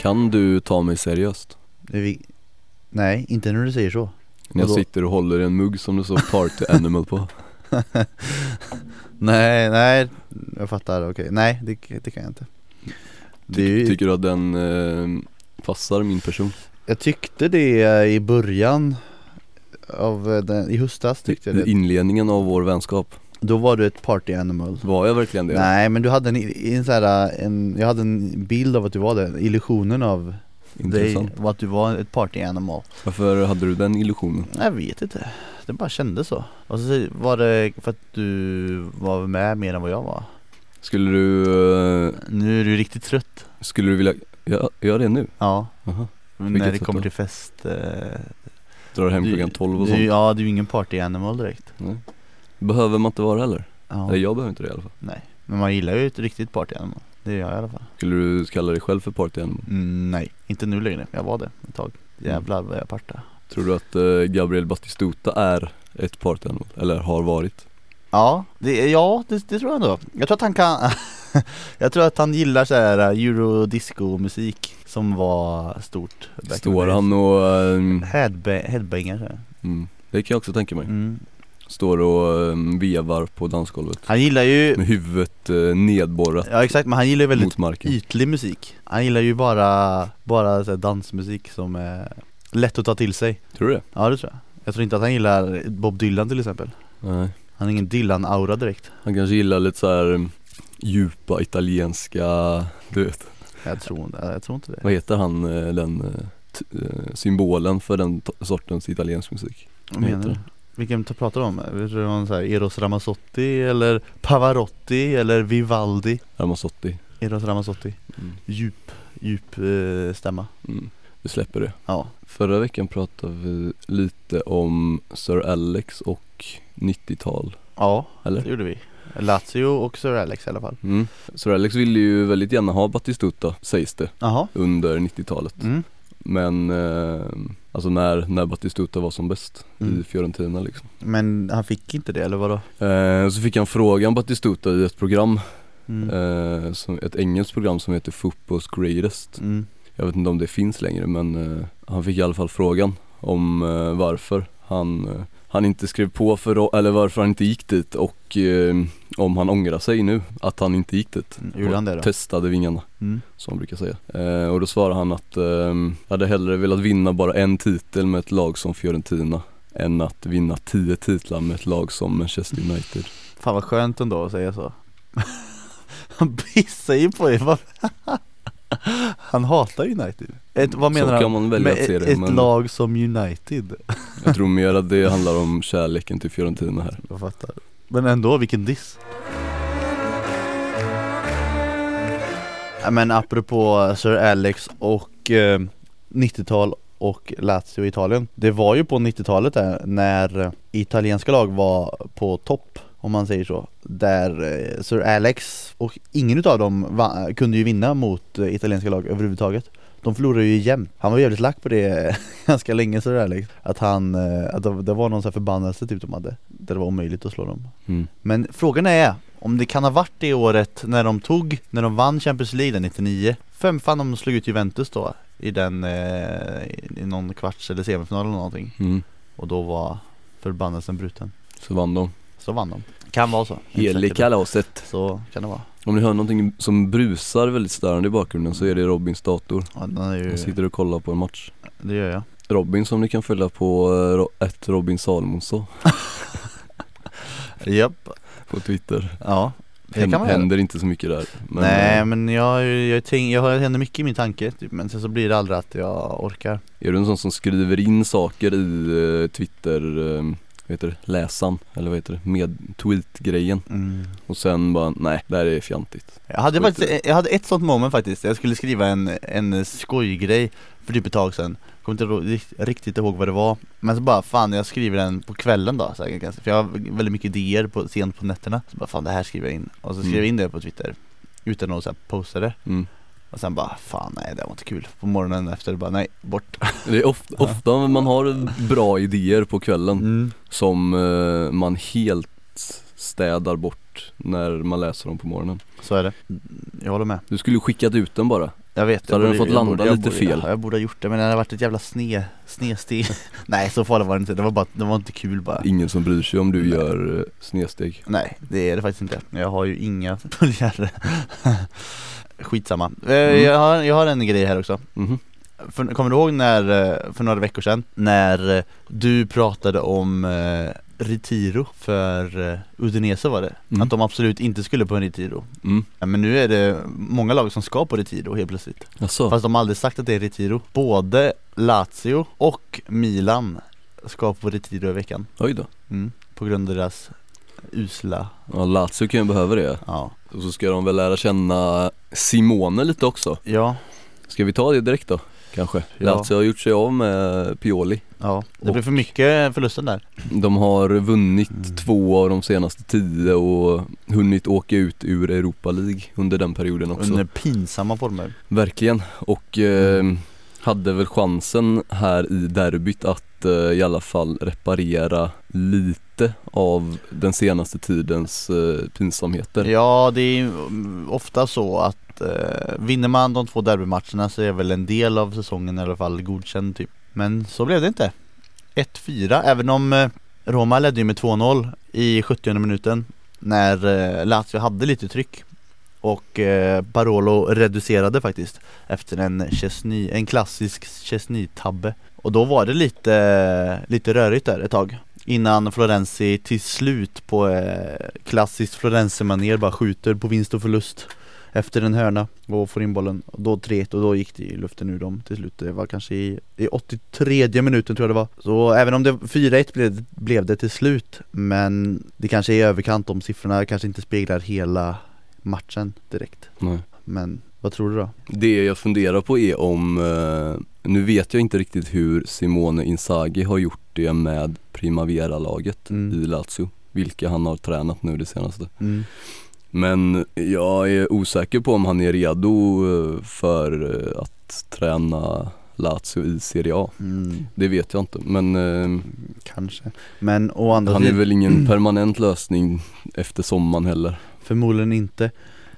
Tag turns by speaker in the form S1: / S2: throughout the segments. S1: Kan du ta mig seriöst?
S2: Det vi... Nej, inte när du säger så.
S1: När jag
S2: Vadå?
S1: sitter och håller en mugg som det står Party Animal på
S2: Nej, nej, jag fattar, okej. Nej, det, det kan jag inte. Det är ju-
S1: Tycker du att den eh, passar min person?
S2: jag tyckte det i början av eh, den, i höstas tyckte jag det.
S1: Inledningen av vår vänskap
S2: Då var du ett party animal.
S1: Var jag verkligen det?
S2: Nej men du hade en, en, så här, en, jag hade en bild av att du var det, illusionen av
S1: Intressant
S2: dig var att du var ett party animal
S1: Varför hade du den illusionen?
S2: Jag vet inte, det bara kändes så Och så var det för att du var med mer än vad jag var
S1: Skulle du, eh,
S2: Nu är du riktigt trött
S1: skulle du vilja, ja, gör det nu?
S2: Ja,
S1: Aha.
S2: när
S1: Vilket
S2: det
S1: sätt
S2: kommer
S1: då?
S2: till fest eh,
S1: Drar hem
S2: du-
S1: klockan 12 och
S2: du,
S1: sånt
S2: Ja, du är ju ingen party animal direkt
S1: Behöver man inte vara heller?
S2: ja.
S1: Eller jag behöver inte det i alla fall
S2: Nej, men man gillar ju ett riktigt party animal Det gör jag i alla fall
S1: Skulle du kalla dig själv för party animal?
S2: mm, Nej, Mm. inte nu längre, jag var det ett tag Jävlar vad jag parta
S1: Tror du att eh, Gabriel Batistuta är ett party animal? Eller har varit?
S2: Ja, det, ja det, det tror jag ändå. Jag tror att han kan Jag tror att han gillar så här eh, eurodisco-musik som var stort back in the
S1: Står
S2: days.
S1: han och, ehm,
S2: Headba- Headbanger så här.
S1: mm, det kan jag också tänka mig
S2: mm.
S1: Står och ehm, vevar på dansgolvet
S2: Han gillar ju
S1: Med huvudet eh, nedborrat
S2: Ja exakt, men han gillar ju väldigt
S1: mot marken
S2: ytlig musik Han gillar ju bara, bara så här dansmusik som är lätt att ta till sig
S1: Tror du det?
S2: Ja det tror jag Jag tror inte att han gillar Bob Dylan till exempel
S1: Nej
S2: Han har ingen Dylan-aura direkt
S1: Han kanske gillar lite så här ehm, djupa italienska, du vet
S2: Jag tror, jag tror inte det
S1: Vad heter han eh, den eh, t- eh, symbolen för den to- sortens italiensk musik?
S2: Vad menar
S1: heter
S2: du?
S1: det?
S2: Vilken t- pratar du om? Vet du om så här Eros Ramazzotti eller Pavarotti eller Vivaldi?
S1: Ramazzotti
S2: Eros Ramazzotti
S1: mm.
S2: Djup, djup eh, stämma
S1: Mm. Vi släpper det
S2: Ja,
S1: Förra veckan pratade vi lite om Sir Alex och 90-tal
S2: ja det
S1: eller?
S2: gjorde vi Lazio och Sir Alex i alla fall
S1: Mm. Sir Alex ville ju väldigt gärna ha Batistuta sägs det
S2: Jaha
S1: under 90-talet
S2: mm.
S1: Men eh, alltså när, när Batistuta var som bäst i
S2: Mm.
S1: Fiorentina liksom
S2: Men han fick inte det eller vadå?
S1: eh, Så fick han frågan Batistuta i ett program,
S2: Mm.
S1: eh, som, ett engelskt program som heter Football's Greatest
S2: Mm.
S1: Jag vet inte om det finns längre men eh, han fick i alla fall frågan om eh, varför han, eh, han inte skrev på för, eller varför han inte gick dit och eh, om han ångrar sig nu att han inte gick dit.
S2: Mm. Gjorde han det då?
S1: Testade vingarna
S2: Mm.
S1: som han brukar säga. Eh, och då svarade han att eh, jag hade hellre velat vinna bara en titel med ett lag som Fiorentina än att vinna tio titlar med ett lag som Manchester United.
S2: Fan vad skönt ändå att säga så Han pissar ju på er, vad- Han hatar United ett, Vad menar
S1: Så
S2: han?
S1: kan man välja
S2: Med
S1: att se
S2: ett,
S1: det
S2: ett
S1: men
S2: lag som United
S1: jag tror mer att det handlar om kärleken till Fiorentina här.
S2: Jag fattar. Men ändå, vilken diss. Ja, Men apropå Sir Alex och eh, 90-tal och Lazio i Italien. Det var ju på 90-talet där när eh, italienska lag var på topp om man säger så. Där eh, Sir Alex och ingen utav dem va- kunde ju vinna mot eh, italienska lag överhuvudtaget. De förlorade ju jämt. Han var jävligt lack på det eh, ganska länge Sir Alex. Att han, eh, att det det var någon sån här förbannelse typ de hade. Där det var omöjligt att slå dem.
S1: Mm.
S2: Men frågan är om det kan ha varit det året när de tog, när de vann Champions League den 99 Fem fan de slog ut Juventus då i den, eh, i någon kvarts eller semifinal eller någonting
S1: Mm.
S2: Och då var förbannelsen bruten
S1: Så vann de.
S2: Så vann de Kan vara så
S1: Helig kalaset.
S2: Så kan det vara
S1: Om ni hör någonting som brusar väldigt störande i bakgrunden så är det Robins dator.
S2: ja, den är
S1: Han
S2: ju,
S1: sitter och kollar på en match.
S2: Det gör jag
S1: Robin som ni kan följa på eh, Ro- ett Robin Salomonsson
S2: Japp,
S1: på Twitter.
S2: ja Det kan man göra
S1: händer inte så mycket där. Men,
S2: Nej
S1: eh,
S2: men jag, har ju- jag, tänk, jag har händer mycket i min tanke typ, men sen så blir det aldrig att jag orkar
S1: Är du en sån som skriver in saker i eh, Twitter, eh, vad heter det, läsaren eller vad heter det, med tweet-grejen
S2: Mm.
S1: och sen bara nej, det här är fjantigt.
S2: Jag hade,
S1: Skit i
S2: faktiskt, jag hade ett sånt moment faktiskt, jag skulle skriva en, en skojgrej för typ ett tag sedan Kommer inte ro- rikt- riktigt ihåg vad det var Men så bara fan jag skriver den på kvällen då så här, ganska- För jag har väldigt mycket idéer på, sent på nätterna Så bara fan det här skriver jag in Och så skrev jag
S1: Mm.
S2: in det på Twitter Utan att så här, posta det
S1: Mm.
S2: Och sen bara, fan nej det var inte kul. På morgonen efter bara, nej bort.
S1: Det är ofta, ofta man har bra idéer på kvällen
S2: Mm.
S1: som eh, man helt städar bort när man läser dem på morgonen.
S2: Så är det. Jag håller med.
S1: Du skulle ju skickat ut den bara.
S2: Jag vet.
S1: Så hade
S2: jag
S1: den
S2: borde-
S1: fått
S2: jag
S1: landa
S2: borde,
S1: lite
S2: jag borde,
S1: fel.
S2: Ja, jag borde ha gjort det men det hade varit ett jävla sne, snedsteg. nej så farligt var det inte. Det var bara, det var inte kul bara.
S1: Ingen som bryr sig om du
S2: Nej.
S1: gör eh, snedsteg.
S2: Nej, det är det faktiskt inte. Jag har ju inga följare. Skitsamma. Eh,
S1: Mm.
S2: Jag, har, jag har en grej här också.
S1: Mhm.
S2: För, kommer du ihåg när, eh, för några veckor sedan, när eh, du pratade om eh, Retiro för eh, Udinese var det?
S1: Mm.
S2: Att de absolut inte skulle på en Retiro.
S1: Mm.
S2: Ja, Men nu är det många lag som ska på Retiro helt plötsligt.
S1: Jaså?
S2: Fast de har aldrig sagt att det är Retiro. Både Lazio och Milan ska på Retiro i veckan.
S1: Oj då.
S2: Mm. På grund av deras usla,
S1: Ja, Lazio kan ju behöva det.
S2: ja.
S1: Och så ska de väl lära känna Simone lite också.
S2: Ja,
S1: Ska vi ta det direkt då? Kanske.
S2: Ja.
S1: Lazio har gjort sig av med Pioli.
S2: Ja, det
S1: Och-
S2: blev för mycket förlusten där.
S1: De har vunnit
S2: Mm.
S1: två av de senaste tio och hunnit åka ut ur Europa League under den perioden också.
S2: Under pinsamma former.
S1: Verkligen och eh, hade väl chansen här i derbyt att eh, i alla fall reparera lite av den senaste tidens eh, pinsamheter.
S2: Ja, det är ju mm, ofta så att eh, vinner man de två derbymatcherna så är väl en del av säsongen i alla fall godkänd typ. Men så blev det inte. 1-4, även om eh, Roma ledde ju med 2-0 i 70 minuten när eh, Lazio hade lite tryck. Och eh, Barolo reducerade faktiskt efter en, Chesney, en klassisk Chesney-tabbe. Och då var det lite, lite rörigt där ett tag. Innan Florenzi till slut på eh, klassiskt Florenzi-manér bara skjuter på vinst och förlust Efter en hörna och får in bollen Och Då 3 och då gick det i luften ur dem till slut Det var kanske i, i 83 minuten tror jag det var Så även om det 4-1 blev, blev det till slut Men det kanske är i överkant de siffrorna kanske inte speglar hela matchen direkt
S1: Nej.
S2: Men vad tror du då?
S1: Det jag funderar på är om, eh, nu vet jag inte riktigt hur Simone Inzaghi har gjort det med Primavera-laget
S2: Mm.
S1: i Lazio, vilka han har tränat nu det senaste.
S2: Mm.
S1: Men jag är osäker på om han är redo eh, för eh, att träna Lazio i Serie A.
S2: Mm.
S1: Det vet jag inte men eh,
S2: Kanske Men å andra
S1: han är
S2: sidan
S1: väl ingen permanent lösning efter sommaren heller.
S2: Förmodligen inte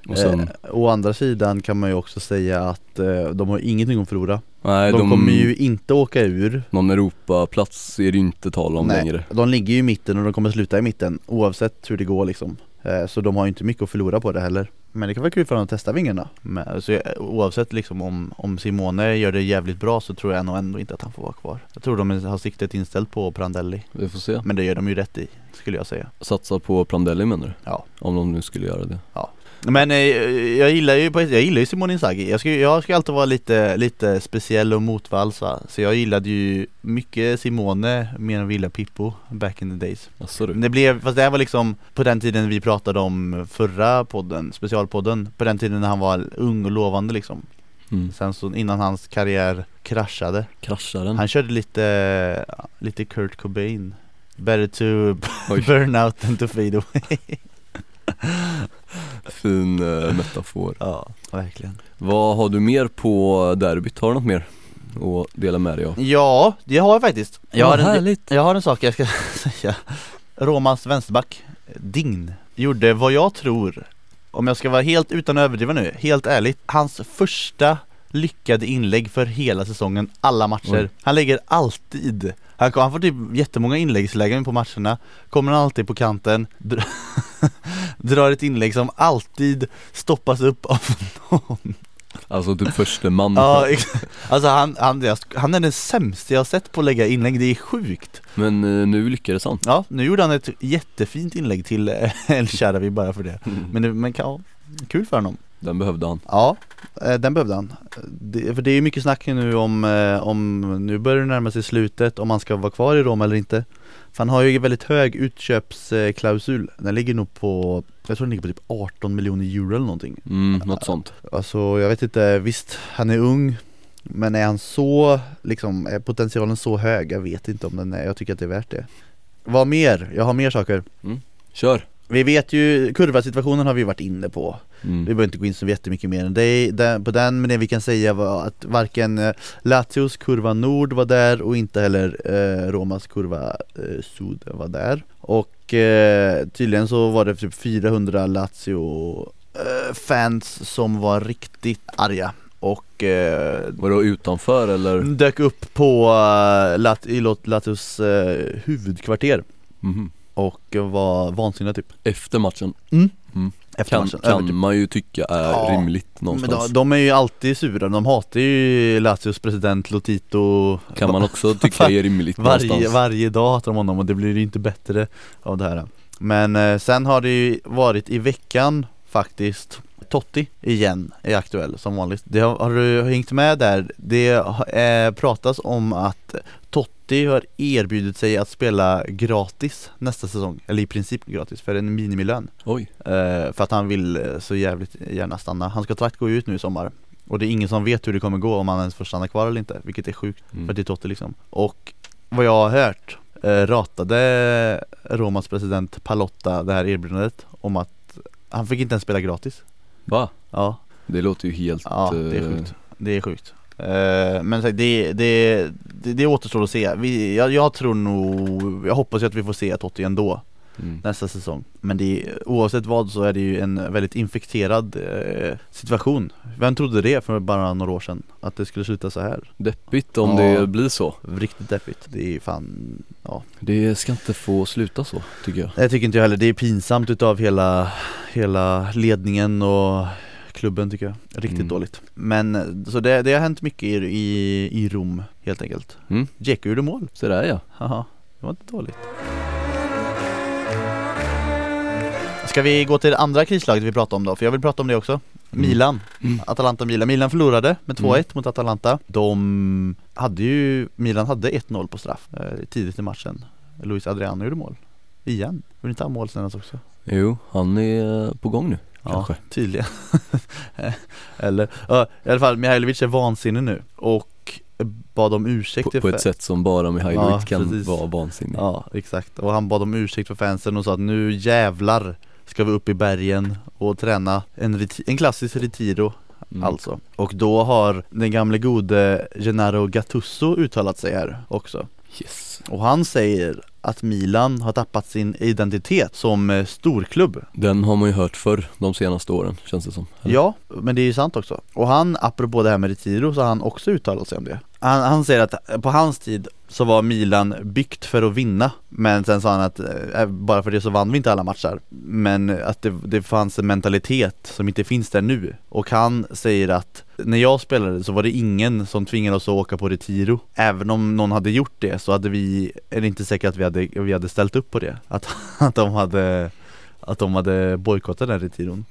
S1: Och sen,
S2: Eh, å andra sidan kan man ju också säga att eh, de har ingenting att förlora.
S1: nej
S2: de,
S1: de,
S2: kommer ju inte åka ur.
S1: någon Europaplats är det ju inte tal om
S2: Nej.
S1: längre.
S2: De ligger ju i mitten och de kommer sluta i mitten oavsett hur det går liksom. Eh, så de har ju inte mycket att förlora på det heller. Men det kan vara kul för dem att testa vingarna. Men, så, jag- oavsett liksom om, om Simone gör det jävligt bra så tror jag nog ändå inte att han får vara kvar. Jag tror de har siktet inställt på Prandelli.
S1: Vi får se.
S2: Men det gör de ju rätt i, skulle jag säga.
S1: Satsa på Prandelli menar du?
S2: Ja.
S1: Om de nu skulle göra det.
S2: Men eh, jag gillar ju, på- jag gillar ju Simone Inzaghi. Jag ska, ju- jag ska alltid vara lite, lite speciell och motvalsa. Så jag gillade ju mycket Simone mer än vi gillade Pippo back in the days.
S1: Jaså du?
S2: Men det blev, fast det här var liksom på den tiden vi pratade om förra podden, specialpodden. På den tiden när han var ung och lovande liksom.
S1: Mm.
S2: Sen så innan hans karriär kraschade.
S1: Krascharen?
S2: Han körde lite, lite Kurt Cobain. Better to
S1: Oj.
S2: burn out than to fade away.
S1: Fin eh, metafor.
S2: Ja, verkligen.
S1: Vad har du mer på derbyt? Har du något mer att dela med dig av?
S2: Ja, det har jag faktiskt. Jag har
S1: Vad
S2: en,
S1: härligt!
S2: Jag har en sak jag ska säga Romas vänsterback, Dign, gjorde vad jag tror Om jag ska vara helt utan att överdriva nu, helt ärligt Hans första lyckade inlägg för hela säsongen, alla matcher
S1: Oj.
S2: Han lägger alltid han, kom, han får typ jättemånga inläggslägen på matcherna Kommer han alltid på kanten dr- Drar ett inlägg som alltid stoppas upp av någon
S1: Alltså typ förste man.
S2: Ja, ex- Alltså han, han, han är den sämsta jag har sett på att lägga inlägg, det är sjukt
S1: Men eh, nu lyckades han.
S2: Ja, nu gjorde han ett jättefint inlägg till eh, El Sharawi bara för det Mm. Men, det, men ja, kul för honom
S1: Den behövde han.
S2: Ja, eh, den behövde han det, För det är ju mycket snack nu om, eh, om nu börjar det närma sig slutet om han ska vara kvar i Rom eller inte För han har ju en väldigt hög utköpsklausul Den ligger nog på, jag tror den ligger på typ 18 miljoner euro eller någonting
S1: Mm, något sånt.
S2: Alltså jag vet inte, visst han är ung Men är han så, liksom, är potentialen så hög? Jag vet inte om den är, jag tycker att det är värt det Vad mer? Jag har mer saker
S1: Kör!
S2: Vi vet ju, kurva-situationen har vi varit inne på Vi
S1: Mm.
S2: behöver inte gå in så jättemycket mer det är, det, på den, men det vi kan säga var att varken eh, Lazios kurva nord var där och inte heller eh, Romas kurva eh, sud var där Och eh, tydligen så var det typ 400 Lazio eh, fans som var riktigt arga och eh,
S1: Vadå utanför eller?
S2: dök upp på eh, Lat- i Lat- Lazios eh, huvudkvarter
S1: Mhm.
S2: och var vansinniga typ
S1: Efter matchen
S2: efter
S1: kan,
S2: matchen.
S1: kan man ju tycka är
S2: Ja,
S1: rimligt
S2: Men de,
S1: någonstans.
S2: de är ju alltid sura, de hatar ju Lazios president Lotito
S1: Kan man också tycka är rimligt
S2: varje,
S1: någonstans.
S2: varje dag hatar de honom och det blir ju inte bättre av det här Men eh, sen har det ju varit i veckan faktiskt Totti igen är aktuell som vanligt det har, har du hängt med där? Det har- eh, pratas om att Totti har erbjudit sig att spela gratis nästa säsong Eller i princip gratis för en minimilön
S1: Oj,
S2: Eh, för att han vill eh, så jävligt gärna stanna. Hans kontrakt går ju ut nu i sommar. Och det är ingen som vet hur det kommer gå om han ens får stanna kvar eller inte. Vilket är sjukt
S1: Mm.
S2: för att det är Totti liksom. Och vad jag har hört eh, ratade Romas president Palotta det här erbjudandet om att han fick inte ens spela gratis.
S1: va?
S2: Ja,
S1: Det låter ju helt...
S2: ja det är
S1: eh,
S2: sjukt. Det är sjukt. Eh, Men så- det, det, det, det återstår att se. Vi, jag, jag tror nog, jag hoppas ju att vi får se Totti ändå
S1: Mm.
S2: nästa säsong. Men det är, oavsett vad så är det ju en väldigt infekterad eh, situation. Vem trodde det för bara några år sedan? Att det skulle sluta så här.
S1: Deppigt om
S2: Ja.
S1: det blir så.
S2: Riktigt deppigt. Det är ju fan, ja.
S1: Det ska inte få sluta så, tycker jag.
S2: Det tycker inte jag heller. Det är pinsamt utav hela, hela ledningen och klubben tycker jag. Riktigt
S1: Mm.
S2: dåligt. Men eh, så det, det har hänt mycket i, i, i Rom helt enkelt.
S1: Mm.
S2: Dzeko gjorde mål.
S1: Så där ja.
S2: Haha, det var inte dåligt. Ska vi gå till det andra krislaget vi pratade om då? För jag vill prata om det också.
S1: Mm.
S2: Milan.
S1: Mm.
S2: Atalanta-Milan. Milan förlorade med 2-1 mot Atalanta. De hade ju, Milan hade 1-0 på straff eh, tidigt i matchen. Luis Adriano gjorde mål. Igen. Gjorde inte han mål senast också?
S1: Jo, han är eh, på gång nu. Kanske.
S2: tydligen. Eller, ja, i alla fall Mihailovic är vansinnig nu och bad om ursäkt
S1: På, på
S2: för-
S1: ett sätt som bara Mihailovic
S2: Ja,
S1: kan
S2: precis.
S1: vara vansinnig.
S2: Ja exakt, och han bad om ursäkt för fansen och sa att nu jävlar ska vi upp i bergen och träna en, reti- en klassisk retiro
S1: Mm.
S2: alltså Och då har den gamle gode Gennaro Gattuso uttalat sig här också
S1: Yes.
S2: Och han säger att Milan har tappat sin identitet som eh, storklubb
S1: Den har man ju hört förr de senaste åren, känns det som. Eller?
S2: Ja, men det är ju sant också. Och han, apropå det här med Retiro, så har han också uttalat sig om det. Han, han säger att eh, på hans tid så var Milan byggt för att vinna, men sen sa han att eh, bara för det så vann vi inte alla matcher. Men eh, att det, det fanns en mentalitet som inte finns där nu. Och han säger att när jag spelade så var det ingen som tvingade oss att åka på Retiro. Även om någon hade gjort det så hade vi, är det inte säkert att vi hade, vi hade ställt upp på det. Att, att de hade, att de hade bojkottat den Retiron.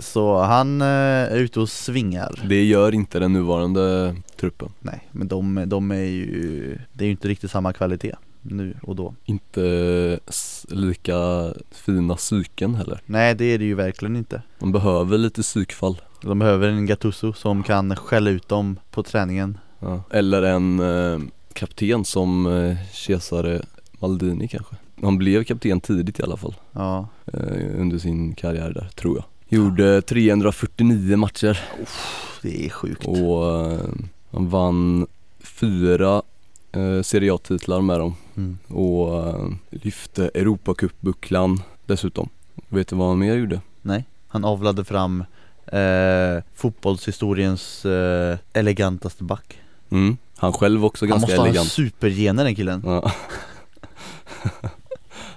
S2: Så han eh, är ute och svingar
S1: Det gör inte den nuvarande truppen.
S2: Nej men de, de är ju Det är ju inte riktigt samma kvalitet nu och då
S1: Inte s- lika fina psyken heller.
S2: Nej det är det ju verkligen inte
S1: De behöver lite psykfall.
S2: De behöver en Gattuso som kan skälla ut dem på träningen
S1: Ja. Eller en eh, kapten som eh, Cesare Maldini kanske. Han blev kapten tidigt i alla fall.
S2: Ja
S1: eh, under sin karriär där, tror jag. Gjorde 349 matcher
S2: Det är sjukt
S1: och eh, han vann fyra eh, Serie A-titlar med dem
S2: mm.
S1: och eh, lyfte Europacup-bucklan dessutom. Vet du vad han mer gjorde?
S2: Han avlade fram eh, fotbollshistoriens eh, elegantaste back
S1: Mm. Han själv också
S2: Han
S1: ganska
S2: måste ha en
S1: elegant.
S2: supergener den killen
S1: Ja.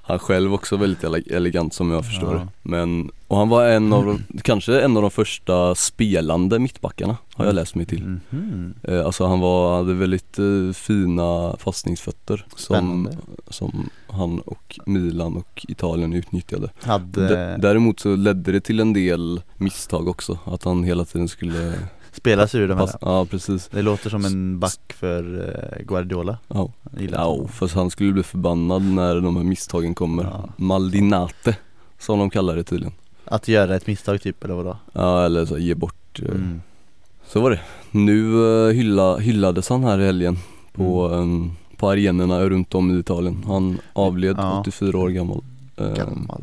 S1: han själv också väldigt ele- elegant som jag förstår
S2: Ja.
S1: det. Men, och han var en av, de- kanske en av de första spelande mittbackarna har
S2: Mm.
S1: jag läst mig till.
S2: Mhm.
S1: Eh, Alltså han var, hade väldigt eh, fina fastningsfötter som,
S2: Spännande.
S1: som han och Milan och Italien utnyttjade.
S2: Hade
S1: D- däremot så ledde det till en del misstag också, att han hela tiden skulle
S2: spelat sig ur de här
S1: passa. Ja precis.
S2: Det låter som en back för eh, Guardiola
S1: Ja,
S2: Jag gillar
S1: ja
S2: honom.
S1: för han skulle bli förbannad när de här misstagen kommer.
S2: Ja.
S1: Maldinate, som de kallar det tydligen.
S2: Att göra ett misstag typ eller vadå?
S1: Ja eller så, ge bort. eh,
S2: Mm.
S1: Så var det. Nu eh, hylla, hyllades han här i helgen
S2: Mm.
S1: på, eh, på arenorna runt om i Italien. Han avled
S2: Ja.
S1: 84 år gammal. eh,
S2: Gammal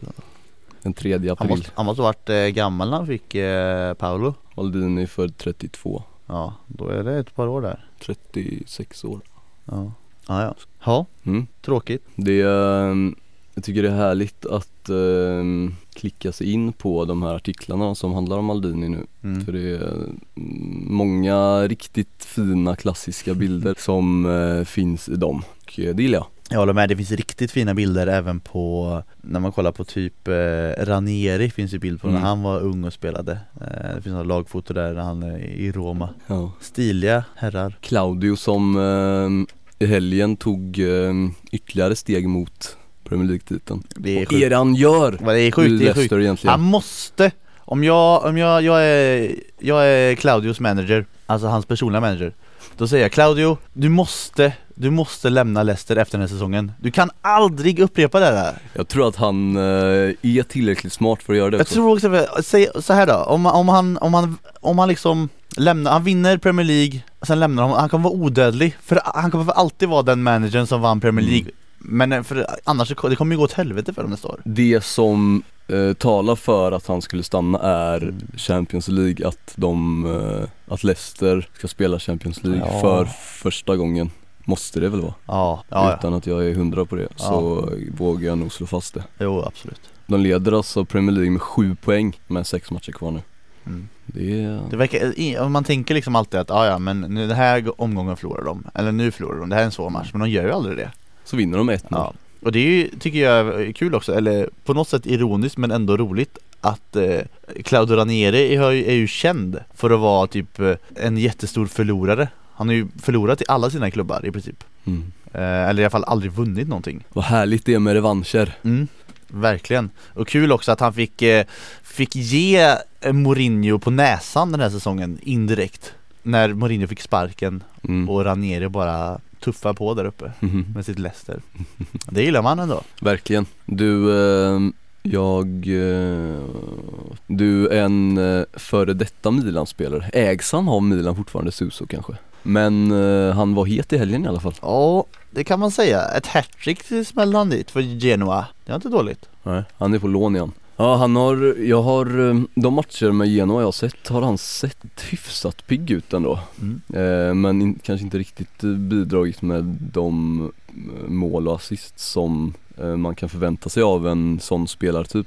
S1: den 3
S2: Han
S1: april.
S2: måste, han måste ha varit eh, gammal när han fick eh, Paolo
S1: Aldin är född 32,
S2: Ja, då är det ett par år där
S1: 36 år.
S2: Ja, ja, ja. ja
S1: Mm.
S2: tråkigt
S1: Det, ehm, jag tycker det är härligt att ehm, klicka sig in på de här artiklarna som handlar om Aldini nu.
S2: mm.
S1: För det är mm, många riktigt fina klassiska bilder som eh, finns i dem och eh, det gillar jag.
S2: Jag håller med, det finns riktigt fina bilder även på När man kollar på typ eh, Ranieri finns ju bild på
S1: Mm.
S2: när han var ung och spelade eh, Det finns några lagfoto där när han är i Roma
S1: Ja.
S2: Stiliga herrar
S1: Claudio som ehm, i helgen tog ehm, ytterligare steg mot Premier League-titeln.
S2: Det är
S1: Och
S2: sjukt,
S1: är det han gör!
S2: Vad, det är
S1: i
S2: sjukt, det är sjukt
S1: Leicester egentligen.
S2: Han måste! Om jag, om jag, jag är, jag är Claudios manager, alltså hans personliga manager Då säger jag Claudio, du måste, du måste lämna Leicester efter den här säsongen Du kan aldrig upprepa det här
S1: Jag tror att han eh, är tillräckligt smart för att göra det.
S2: Jag
S1: också.
S2: tror också, säg så här då, om, om han, om han, om han liksom lämnar, han vinner Premier League, sen lämnar han, han kommer vara odödlig För han kommer för alltid vara den managern som vann Premier
S1: Mm.
S2: League Men eh, för, annars, så- det kommer ju gå åt helvete för dem nästa år
S1: Det som eh, talar för att han skulle stanna är
S2: Mm.
S1: Champions League, att de, eh, att Leicester ska spela Champions League
S2: Ja.
S1: för första gången. Måste det väl vara?
S2: Ja, ja, ja.
S1: Utan att jag är hundra på det så vågar jag nog slå fast det.
S2: jo absolut
S1: De leder alltså Premier League med sju poäng med sex matcher kvar nu.
S2: mm.
S1: Det är...
S2: Det verkar, i- om man tänker liksom alltid att ah, ja men nu, den här g- omgången förlorar de, eller nu förlorar de, det här är en svår
S1: Mm.
S2: match, men de gör ju aldrig det.
S1: Så vinner de med 1-0.
S2: Ja. Och det är ju, tycker jag är kul också, eller på något sätt ironiskt men ändå roligt att eh, Claudio Ranieri är ju, är ju känd för att vara typ eh, en jättestor förlorare. Han har ju förlorat i alla sina klubbar i princip.
S1: Mm.
S2: Eh, eller i alla fall aldrig vunnit någonting.
S1: Vad härligt det är med revanscher.
S2: Mm. Verkligen. Och kul också att han fick, eh, fick ge eh, Mourinho på näsan den här säsongen indirekt. När Mourinho fick sparken
S1: Mm.
S2: och Ranieri bara tuffar på där uppe
S1: Mhm.
S2: med sitt Leicester. Det gillar man ändå.
S1: Verkligen. Du, eh, jag, eh, du är en eh, före detta Milan-spelare. Ägs han av Milan fortfarande, Suso kanske? Men eh, han var het i helgen i alla fall.
S2: Ja, det kan man säga. Ett hattrick smällde han dit för Genoa. Det var inte dåligt.
S1: Nej. Han är på lån igen. Ja, han har, jag har, eh, de matcher med Genoa jag har sett har han sett hyfsat pigg ut ändå.
S2: Mm.
S1: Eh, men in, kanske inte riktigt eh, bidragit med de eh, mål och assist som eh, man kan förvänta sig av en sån spelartyp.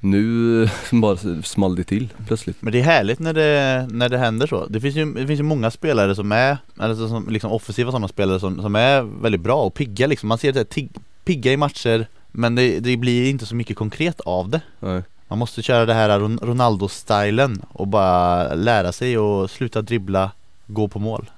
S1: Nu eh, bara small det till plötsligt.
S2: Men det är härligt när det, när det händer så. Det finns ju, det finns ju många spelare som är, eller så- som liksom offensiva sådana spelare som, som är väldigt bra och pigga liksom. Man ser det här tig, pigga i matcher men det, det blir inte så mycket konkret av det.
S1: Nej.
S2: Man måste köra det här Ron- Ronaldo-stilen och bara lära sig och sluta dribbla, gå på mål.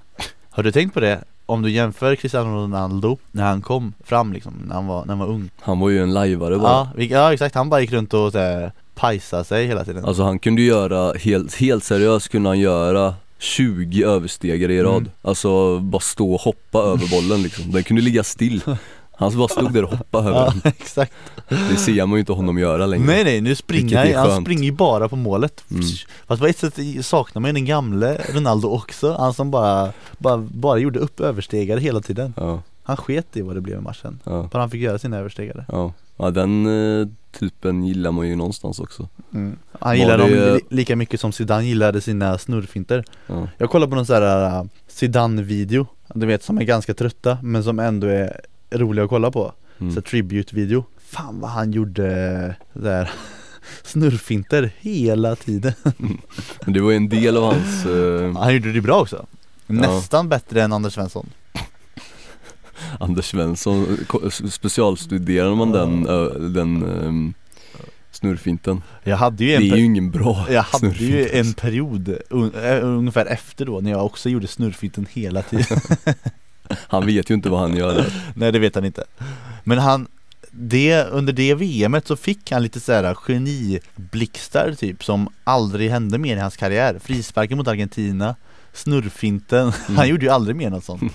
S2: Har du tänkt på det? Om du jämför Cristiano Ronaldo när han kom fram liksom, när han var, när han var ung.
S1: Han var ju en lajvare bara.
S2: Ja, vi, ja exakt, han bara gick runt och så här, pajsade sig hela tiden.
S1: Alltså han kunde göra, helt, helt seriöst kunde han göra 20 överstegare i rad.
S2: Mm.
S1: Alltså bara stå och hoppa över bollen liksom. Den kunde ligga still. Han bara stod där och hoppade över
S2: ja,
S1: den.
S2: exakt.
S1: Det ser man ju inte honom göra längre.
S2: Nej nej, nu
S1: Vilket
S2: springer
S1: är
S2: han, han
S1: skönt.
S2: springer ju bara på målet.
S1: Mm.
S2: Fast på ett sätt saknar man ju den gamle Ronaldo också, han som bara, bara, bara gjorde upp överstegare hela tiden.
S1: Ja,
S2: Han sket i vad det blev i matchen.
S1: ja,
S2: Bara han fick göra sina överstegare.
S1: ja. ja den eh, typen gillar man ju någonstans också.
S2: Han
S1: Var
S2: gillar dem
S1: det-
S2: li- lika mycket som Zidane gillade sina snurrfinter
S1: Ja.
S2: Jag kollar på någon sån här äh, Zidane-video Du vet som är ganska trötta men som ändå är roliga att kolla på
S1: Mm.
S2: Så tribute-video Fan vad han gjorde där snurrfinter hela tiden
S1: Men det var ju en del av hans, eh,
S2: Han gjorde det bra också Nästan bättre än Anders Svensson
S1: Anders Svensson, ko- specialstuderar man den, ö, den eh, snurrfinten?
S2: Jag hade ju
S1: Det
S2: en
S1: är
S2: per-
S1: ju ingen bra
S2: jag hade ju
S1: snurrfint.
S2: en period un- äh, ungefär efter då när jag också gjorde snurrfinten hela tiden
S1: Han vet ju inte vad han gör där.
S2: Nej det vet han inte Men han det, under det VMet så fick han lite såhär geniblixtar typ som aldrig hände mer i hans karriär Frisparken mot Argentina Snurrfinten, han gjorde ju aldrig mer något sånt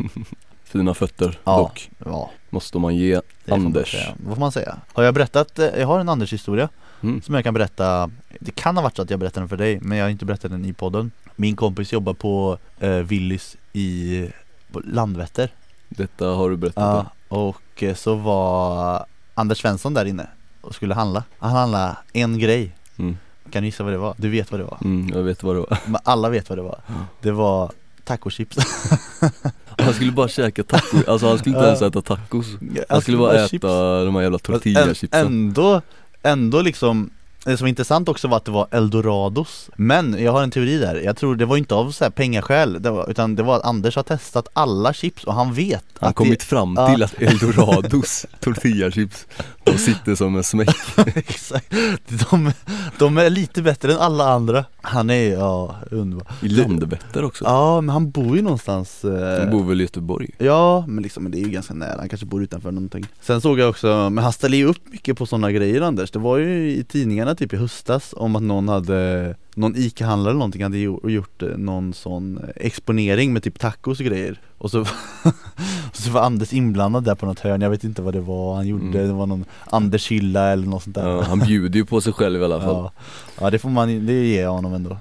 S1: Fina fötter
S2: Ja.
S1: dock,
S2: Ja,
S1: måste man ge
S2: det får man
S1: Anders.
S2: säga. Vad får man säga? Har jag berättat, eh, jag har en Anders-historia
S1: Mm.
S2: Som jag kan berätta Det kan ha varit så att jag berättade den för dig men jag har inte berättat den i podden Min kompis jobbar på eh, Willys i på Landvetter
S1: Detta har du berättat
S2: Ja, och eh, så var Anders Svensson där inne och skulle handla Han handlade en grej
S1: Mm.
S2: Kan du gissa vad det var? Du vet vad det var?
S1: Mm, jag vet vad det var.
S2: Men alla vet vad det var Det var tacochips
S1: Han skulle bara käka tacos, alltså han skulle inte ens äta tacos. Han skulle bara äta
S2: chips. Alltså,
S1: de här jävla
S2: Fast
S1: tortillachipsen.
S2: Ändå, ändå liksom det som var intressant också var att det var eldorados Men jag har en teori där, jag tror det var inte av så här pengaskäl det var, Utan det var att Anders har testat alla chips och han vet
S1: Han
S2: att
S1: kommit fram
S2: Ja.
S1: till att eldorados tortillachips, de sitter som en smäck.
S2: det, Exakt, de, de är lite bättre än alla andra Han är, ja, underbar
S1: I Landvetter också.
S2: Ja, men han bor ju någonstans eh,
S1: De bor väl i Göteborg?
S2: Ja, men liksom men det är ju ganska nära, han kanske bor utanför någonting Sen såg jag också, men han ställer ju upp mycket på sådana grejer Anders Det var ju i tidningarna typ i höstas om att någon hade Någon ICA-handlare eller någonting hade gjo- gjort eh, någon sån exponering med typ tacos och grejer Och så, och så var Anders inblandad där på något hörn, jag vet inte vad det var han gjorde
S1: Mm.
S2: Det var någon Anders hylla eller något sånt där
S1: Ja, han bjuder ju på sig själv i alla fall.
S2: ja. ja, det får man, det ger jag honom ändå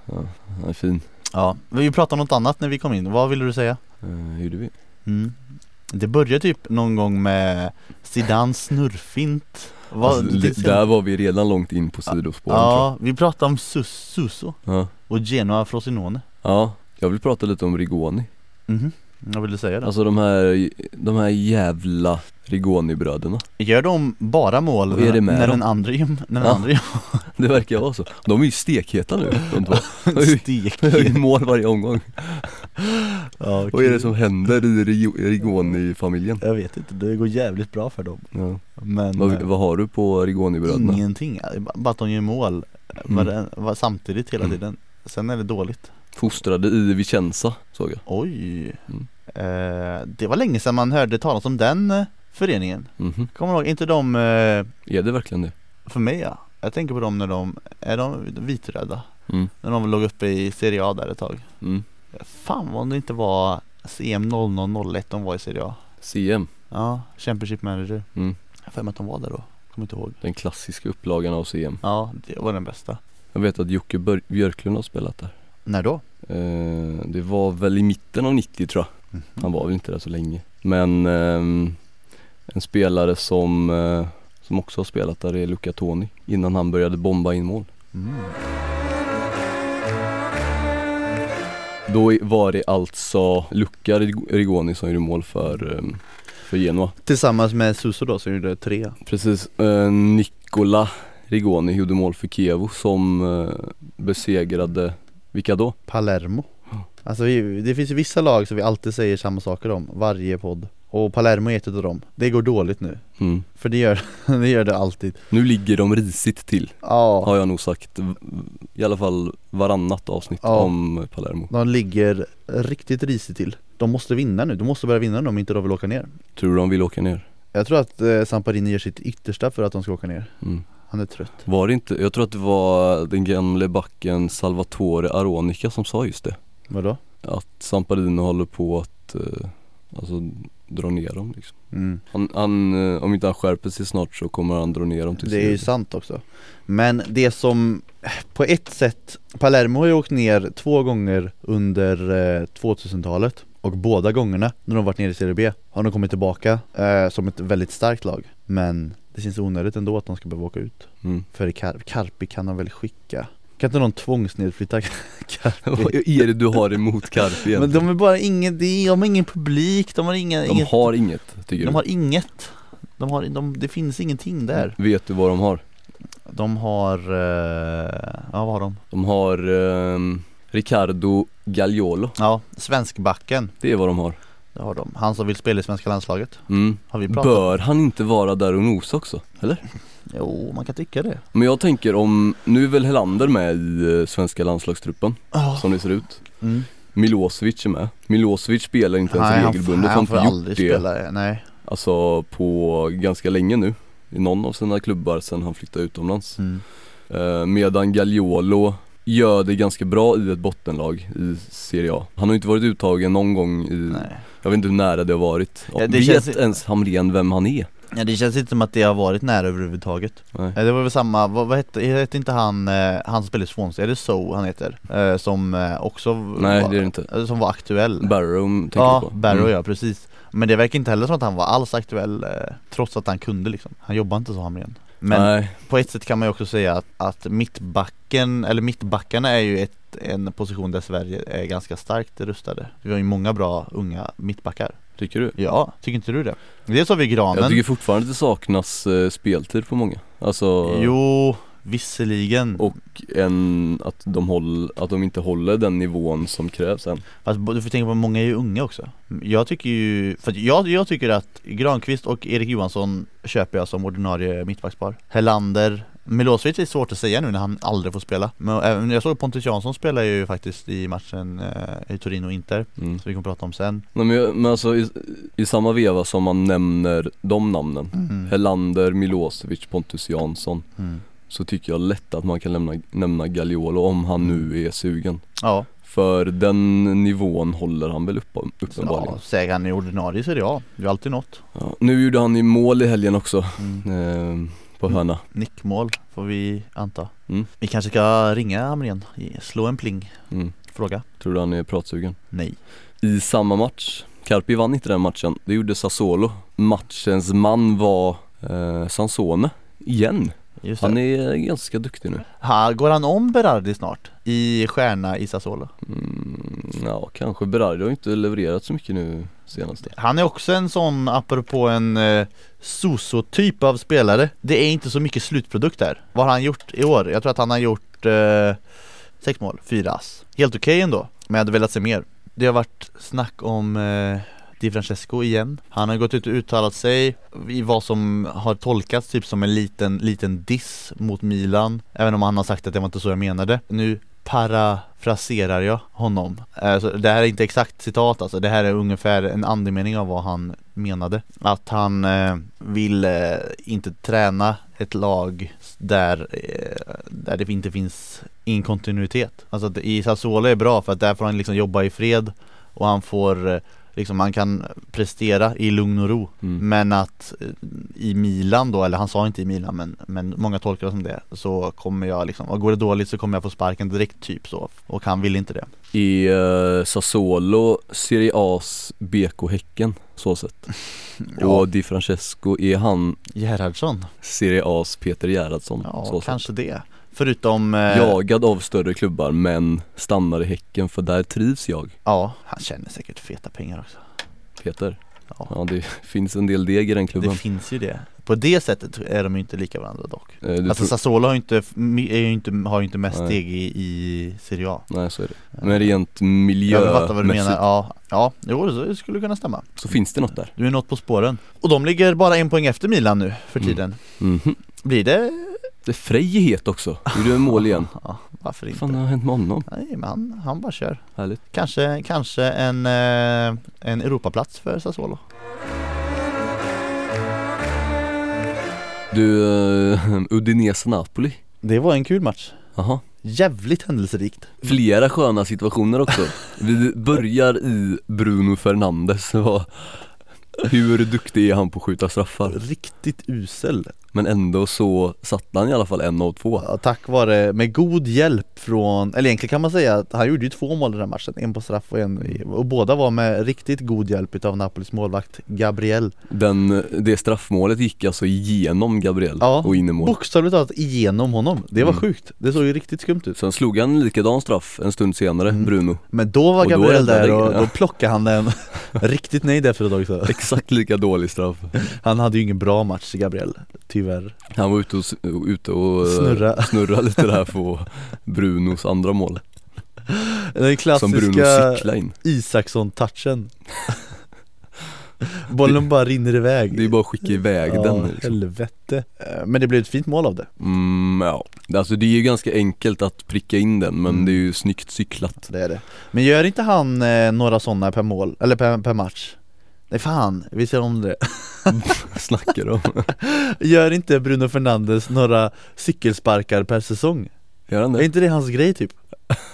S1: Han är fin.
S2: Ja, vi pratade om något annat när vi kom in, vad ville du säga?
S1: Eh, hur gjorde vi?
S2: Mm. Det började typ någon gång med Zidans snurrfint Vad-
S1: Alltså, li-
S2: det-
S1: där var vi redan långt in på sidospåren tror
S2: Ja, vi pratade om Sus Suso
S1: jag. Ja.
S2: och Genoa Frosinone
S1: ja, jag vill prata lite om Rigoni.
S2: Mhm, jag ville säga det
S1: Alltså de här, de här jävla Rigoni-bröderna.
S2: Gör de bara mål
S1: Vad är det med
S2: när
S1: dem?
S2: den andra gör- när den
S1: Ja.
S2: andra gör
S1: Det verkar vara så. De är ju stekheta nu, de två.
S2: en stek?
S1: De gör ju mål varje omgång.
S2: Ja,
S1: Vad är det
S2: okej.
S1: som händer i Rio- Rigoni-familjen?
S2: Jag vet inte, det går jävligt bra för dem
S1: Ja.
S2: Men
S1: Vad,
S2: eh,
S1: vad har du på Rigoni-bröderna?
S2: ingenting, bara att de gör mål varen- var, samtidigt hela
S1: Mm.
S2: tiden Sen är det dåligt
S1: Fostrade i Vicenza, såg jag.
S2: Oj
S1: Mm.
S2: eh, Det var länge sedan man hörde talas om den eh, föreningen
S1: Mhm.
S2: Kommer du ihåg, inte de, eh,
S1: Är det verkligen det?
S2: för mig ja. Jag tänker på dem när de, är de vitröda?
S1: Mm.
S2: När de låg uppe i Serie A där ett tag
S1: Mm.
S2: Fan vad om det inte var CM 0001 de var i Serie A
S1: CM,
S2: Ja, Championship Manager
S1: Mm.
S2: Jag har för mig att de var där då, kommer inte ihåg
S1: den klassiska upplagan av CM.
S2: Ja, det var den bästa
S1: Jag vet att Jocke Bör- Björklund har spelat där.
S2: När då?
S1: Eh, det var väl i mitten av 90 tror jag.
S2: Mhm.
S1: Han var väl inte där så länge. Men ehm, en spelare som, eh, som också har spelat där är Luca Toni innan han började bomba in mål.
S2: Mm.
S1: Då i- var det alltså Luca Rig- Rigoni som gjorde mål för, ehm, för Genoa.
S2: Tillsammans med Suso då som gjorde tre
S1: Precis, eh, Nicola Rigoni gjorde mål för Kievo som eh, besegrade, vilka då?
S2: Palermo
S1: Ja.
S2: Alltså vi, det finns ju vissa lag som vi alltid säger samma saker om, varje podd Och Palermo är ett av dem, det går dåligt nu
S1: Mm.
S2: För det gör det, gör det alltid
S1: Nu ligger de risigt till
S2: Ja
S1: har jag nog sagt v- i alla fall varannat avsnitt
S2: Ja.
S1: om Palermo.
S2: De ligger riktigt risigt till. De måste vinna nu, de måste börja vinna nu om inte de vill åka ner.
S1: Tror du de vill åka ner?
S2: Jag tror att eh, Samparini gör sitt yttersta för att de ska åka ner.
S1: Mm.
S2: Han är trött.
S1: Var det inte, jag tror att det var den gamle backen Salvatore Aronica som sa just det.
S2: Vadå?
S1: Att Samparino håller på att eh, alltså, dra ner dem liksom.
S2: Mm.
S1: Han, han, eh, om inte han skärper sig snart så kommer han dra ner dem till
S2: Det är ju sant också. Men det som, på ett sätt, Palermo har ju åkt ner två gånger under eh, 2000-talet och båda gångerna när de varit nere i Serie B har de kommit tillbaka eh, som ett väldigt starkt lag. Men det känns onödigt ändå att de ska behöva åka ut.
S1: Mm.
S2: För Kar- Carpi kan de väl skicka? Kan inte någon tvångsnedflytta
S1: Vad är det du har emot Carpi
S2: Men
S1: egentligen?
S2: de är bara ingen, de har ingen publik, de har inga,
S1: de,
S2: inget,
S1: har inget tycker
S2: de
S1: du?
S2: har inget de har, de, det finns ingenting där
S1: Vet du vad de har?
S2: De har, eh, ja vad har de?
S1: De har ehm, Riccardo Gagliolo,
S2: Ja, svenskbacken,
S1: det är vad de har.
S2: det har de Han som vill spela i svenska landslaget,
S1: Mm.
S2: har vi pratat
S1: Bör han inte vara där och nosa också? Eller?
S2: Jo, man kan tycka det
S1: Men jag tänker om, nu är väl Helander med i eh, svenska landslagstruppen
S2: Ja,
S1: som det ser ut
S2: mm.
S1: Milosevic är med Milosevic spelar inte ens
S2: Nej, han, får- nej,
S1: regelbundet, han
S2: han
S1: har
S2: får
S1: inte
S2: aldrig
S1: gjort det
S2: spela, nej
S1: Alltså på ganska länge nu I någon av sina klubbar sen han flyttade utomlands
S2: mm.
S1: eh, Medan Gagliolo gör det ganska bra i ett bottenlag i Serie A Han har ju inte varit uttagen någon gång i,
S2: nej
S1: jag vet inte hur nära det har varit
S2: Ja, det
S1: Vet
S2: känns-
S1: ens Hamrén vem han är?
S2: ja, det känns inte som att det har varit nära överhuvudtaget
S1: Nej.
S2: Eh, Det var väl samma, vad, vad hette, hette inte han, eh, han som spelade i Swansea, är det So han heter? Eh, som eh, också
S1: Nej
S2: var,
S1: det är det inte
S2: eh, Som var aktuell
S1: Barrow tänker
S2: Ja,
S1: du på?
S2: Barrow
S1: Mm.
S2: ja, precis Men det verkar inte heller som att han var alls aktuell eh, Trots att han kunde liksom Han jobbar inte så Hamrén Men
S1: Nej,
S2: på ett sätt kan man ju också säga att, att mittbacken, eller mittbackarna är ju ett, en position där Sverige är ganska starkt rustade. Vi har ju många bra unga mittbackar.
S1: tycker du?
S2: Ja, tycker inte du det? Dels har vi
S1: Jag
S2: Granen.
S1: tycker fortfarande det saknas eh, speltid på många Alltså
S2: Jo, visserligen.
S1: Och- en, att, de håll, att de inte håller den nivån som krävs än
S2: Fast bo- du får tänka på att många är ju unga också Jag tycker ju, för att jag, jag tycker att Granqvist och Erik Johansson köper jag som ordinarie mittbackspar Helander Milosevic är svårt att säga nu när han aldrig får spela Men även, jag såg Pontus Jansson spela ju faktiskt i matchen eh, i Torino-Inter
S1: mm.
S2: Som vi kommer prata om sen
S1: Nej, men, jag- men alltså i, i samma veva som man nämner de namnen
S2: mm.
S1: Helander, Milosevic, Pontus Jansson
S2: Mm.
S1: Så tycker jag lätt att man kan lämna, nämna Gagliolo om han nu är sugen
S2: Ja,
S1: För den nivån håller han väl upp,
S2: så-
S1: uppenbarligen
S2: ja, säger han är ordinarie i Serie A, det är ju alltid något
S1: ja. Nu gjorde han ju mål i helgen också
S2: mm.
S1: eh, På hörna
S2: Nickmål får vi anta
S1: Mm.
S2: Vi kanske ska ringa Hamrén, slå en pling,
S1: mm.
S2: fråga
S1: Tror du han är pratsugen?
S2: Nej
S1: I samma match, Carpi vann inte den matchen, det gjorde Sassuolo Matchens man var eh, Sansone, igen
S2: Just det.
S1: Han är ganska duktig nu
S2: Ha, går han om Berardi snart? I stjärna i Sassuolo?
S1: mm, Ja, kanske Berardi har inte levererat så mycket nu senast
S2: Han är också en sån, apropå en eh, typ av spelare Det är inte så mycket slutprodukt där Vad har han gjort i år? Jag tror att han har gjort eh, sex mål, fyra ass Helt okej ändå, men jag hade velat se mer Det har varit snack om eh, Di Francesco igen Han har gått ut och uttalat sig i vad som har tolkats typ som en liten, liten diss mot Milan Även om han har sagt att det var inte så jag menade Nu parafraserar jag honom Eh, så Det här är inte exakt citat alltså, det här är ungefär en andemening av vad han menade Att han eh, vill eh, inte träna ett lag där, eh, där det inte finns inkontinuitet Alltså att i Sassuolo är bra för att där får han liksom jobba i fred och han får eh, Liksom han kan prestera i lugn och ro
S1: mm.
S2: Men att eh, i Milan då, eller han sa inte i Milan men, men många tolkar det som det Så kommer jag liksom, och går det dåligt så kommer jag få sparken direkt typ så Och han vill inte det
S1: Är eh, Sassuolo Serie A's BK Häcken, så sett
S2: Mm,
S1: Och Di Francesco, är han
S2: Gerhardsson?
S1: Serie A's Peter Gerhardsson,
S2: Ja,
S1: så sett
S2: kanske det Förutom, eh, ja.
S1: Jagad av större klubbar men stannar i Häcken för där trivs jag
S2: ja, han tjänar säkert feta pengar också
S1: Peter
S2: Ja,
S1: Ja det finns en del deg i den
S2: det
S1: klubben
S2: finns ju det På det sättet är de ju inte lika varandra dock
S1: Eh, du
S2: Alltså
S1: tror...
S2: Sassuolo har ju inte, är ju inte, har ju inte mest
S1: Nej.
S2: steg i, i Serie A
S1: Nej så är det Men rent miljömässigt
S2: Jag fattar vad du menar, ja, ja, jo det skulle kunna stämma
S1: så finns det något där
S2: Du är något på spåren Och de ligger bara en poäng efter Milan nu för
S1: Mm.
S2: tiden
S1: Mhm.
S2: Blir det?
S1: Det är Frej är het också, gjorde en mål igen
S2: Ja, varför
S1: Vad
S2: inte?
S1: fan har hänt med honom?
S2: Nej men han, han bara kör
S1: Härligt
S2: Kanske, kanske en, eh, en Europaplats för Sassuolo
S1: Du, uh, Udinese-Napoli
S2: Det var en kul match
S1: Jaha
S2: Jävligt händelserikt
S1: Flera sköna situationer också Vi börjar i Bruno Fernandes Vad- Hur duktig är han på att skjuta straffar?
S2: Riktigt usel
S1: Men ändå så satte han i alla fall en av två
S2: Ja, Tack vare, med god hjälp från, eller egentligen kan man säga att han gjorde ju två mål i den här matchen En på straff och en i- och båda var med riktigt god hjälp utav Napolis målvakt Gabriel
S1: Den, det straffmålet gick alltså igenom Gabriel
S2: Ja,
S1: och in i mål
S2: Bokstavligt talat igenom honom, det var
S1: Mm.
S2: sjukt Det såg ju riktigt skumt ut
S1: Sen slog han en likadan straff en stund senare,
S2: Mm.
S1: Bruno
S2: Men då var
S1: Och då
S2: Gabriel
S1: räddade
S2: där
S1: det,
S2: och
S1: ja.
S2: då plockade han den Riktigt nöjd efteråt också
S1: Exakt lika dålig straff
S2: Han hade ju ingen bra match Gabriel, tyvärr
S1: Han var ute och, s- ute och eh,
S2: Snurra.
S1: snurra lite där på Brunos andra mål
S2: Den
S1: Som Bruno
S2: klassiska
S1: cyklade in
S2: Isaksson-touchen Bollen bara rinner iväg
S1: Det är bara att skicka iväg den
S2: Ja,
S1: liksom.
S2: helvete Eh, Men det blev ett fint mål av det
S1: mm, ja. Alltså det är ju ganska enkelt att pricka in den men
S2: Mm.
S1: det är ju snyggt cyklat
S2: Alltså, Det är det Men gör inte han eh, några sådana per mål, eller per, per match? Nej fan, vi ser om det
S1: Snackar de
S2: Gör inte Bruno Fernandes några cykelsparkar per säsong?
S1: Gör han
S2: Är
S1: det?
S2: inte det hans grej typ?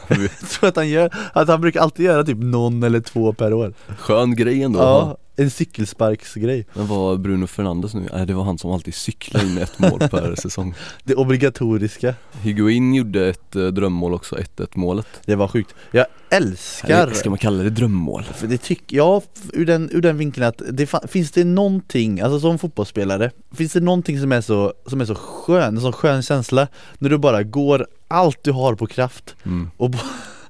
S2: Jag tror att han gör, att han brukar alltid göra typ någon eller två per år
S1: Skön grej ändå
S2: Ja, En cykelsparksgrej.
S1: Men var Bruno Fernandes nu? Nej det var han som alltid cyklade in ett mål per säsong
S2: Det obligatoriska.
S1: Higuain gjorde ett eh, drömmål också, 1-1 målet
S2: Det var sjukt. Jag älskar
S1: Eller, Ska man kalla det drömmål?
S2: För det tycker jag, f- ur den, ur den vinkeln att det fa- finns det någonting, alltså som fotbollsspelare, finns det någonting som är så, som är så skön, en sån skön känsla när du bara går allt du har på kraft
S1: Mm.
S2: och, bo-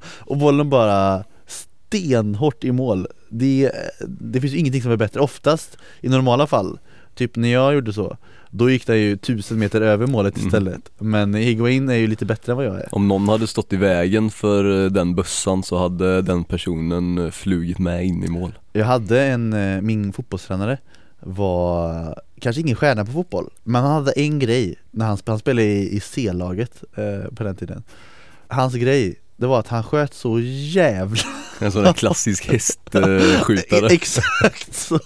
S2: och bollen bara stenhårt i mål. Det, det finns ju ingenting som är bättre, oftast i normala fall, typ när jag gjorde så, då gick den ju tusen meter över målet
S1: Mm.
S2: istället. Men Higuain är ju lite bättre än vad jag är.
S1: Om någon hade stått i vägen för eh, den bössan så hade den personen eh, flugit med in i mål
S2: Jag hade en, eh, min fotbollstränare var kanske ingen stjärna på fotboll Men han hade en grej när han, sp- han spelade i, i C-laget eh, på den tiden Hans grej, det var att han sköt så jävla
S1: En sån där klassisk hästskjutare
S2: Exakt så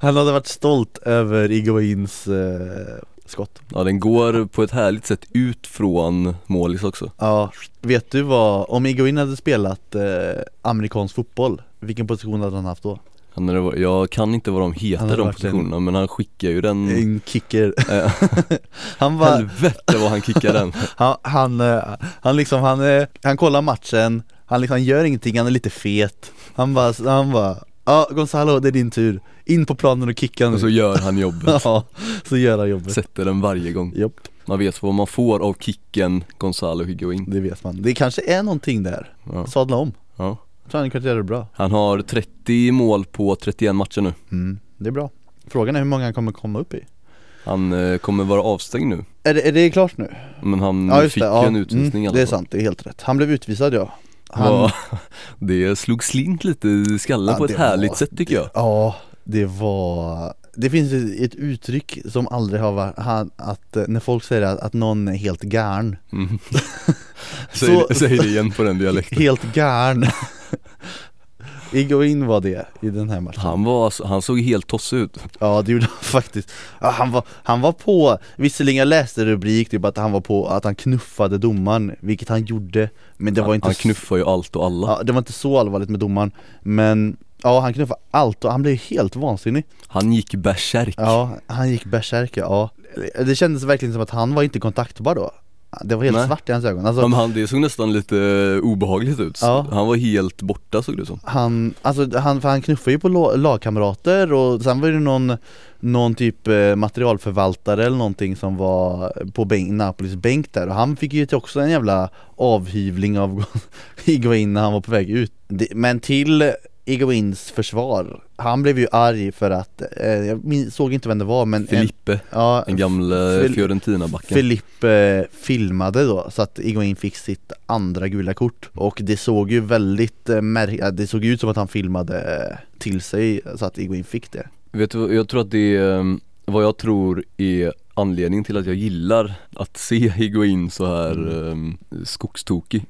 S2: Han hade varit stolt över Iguains eh, skott
S1: Ja den går på ett härligt sätt ut från målis också
S2: Ja, vet du vad, om Iguain hade spelat eh, amerikansk fotboll Vilken position hade han haft då?
S1: han är, Jag kan inte vad de
S2: Han
S1: heter
S2: hade
S1: de
S2: varit en-
S1: positionerna men han skickar ju den
S2: En kicker
S1: eh,
S2: Han var
S1: Helvete vad han kickar den
S2: Han, han, eh, han liksom, han, eh, han kollar matchen, han liksom gör ingenting, han är lite fet Han bara, han bara Ja Gonzalo det är din tur, in på planen och kicka nu
S1: Och så gör han jobbet
S2: Ja, så gör han jobbet
S1: Sätter den varje gång
S2: Japp,
S1: Man vet vad man får av kicken Gonzalo Higuain
S2: det vet man. Det kanske är någonting där,
S1: ja.
S2: sadla om
S1: Ja.
S2: Jag tror han kan göra det bra
S1: Han har 30 mål på 31 matcher nu
S2: mm, Det är bra Frågan är hur många han kommer komma upp i
S1: Han eh, kommer vara avstängd nu
S2: Är det, är det klart nu?
S1: Men han Mm, fick ju en utvisning i
S2: mm,
S1: alla
S2: Det är
S1: fall.
S2: sant, det är helt rätt Han blev utvisad ja Han-
S1: Ja, Det slog slint lite i skallen
S2: Ja,
S1: på ett
S2: det
S1: härligt
S2: var-
S1: sätt tycker jag
S2: Ja, det var Det finns ett ett uttryck som aldrig har varit han, att eh, när folk säger att, att någon är helt garn
S1: mm.
S2: Så-
S1: säg, det- säg det igen på den dialekten
S2: Helt garn Igoin var det i den här matchen
S1: Han var, alltså- han såg helt tossig ut
S2: Ja det gjorde han faktiskt ja, han, var, han var på, visserligen jag läste rubrik typ att han var på att han knuffade domaren Vilket han gjorde Men det var
S1: Han-
S2: inte
S1: Han
S2: så-
S1: knuffar ju allt och alla
S2: ja, Det var inte så allvarligt med domaren Men ja han knuffade allt och han blev helt vansinnig
S1: Han gick bärsärk
S2: Ja, han gick bärsärker, ja Det kändes verkligen som att han var inte kontaktbar då Det var helt
S1: Nej.
S2: svart i hans ögon, alltså,
S1: Ja, men han, det såg nästan lite eh, obehagligt ut
S2: Ja.
S1: Han var helt borta såg det som
S2: han, alltså, han, för han knuffade ju på lo- lagkamrater och sen var det någon Någon typ eh, materialförvaltare eller någonting som var på bänk, Napolis bänk där och han fick ju också en jävla avhyvling av Higuain när han var på väg ut Det- Men till Higuains försvar Han blev ju arg för att, eh, jag min- såg inte vem det var men en,
S1: Filippe,
S2: ja,
S1: den gamle
S2: Fil-
S1: Fiorentina-backen
S2: Filippe eh, filmade då så att Iguain fick sitt andra gula kort och det såg ju väldigt eh, märk- ja, det såg ut som att han filmade eh, till sig så att Iguain fick det
S1: Vet du, vad- jag tror att det är, eh, vad jag tror är anledningen till att jag gillar att se Higuain så här
S2: Mm.
S1: eh, skogstokig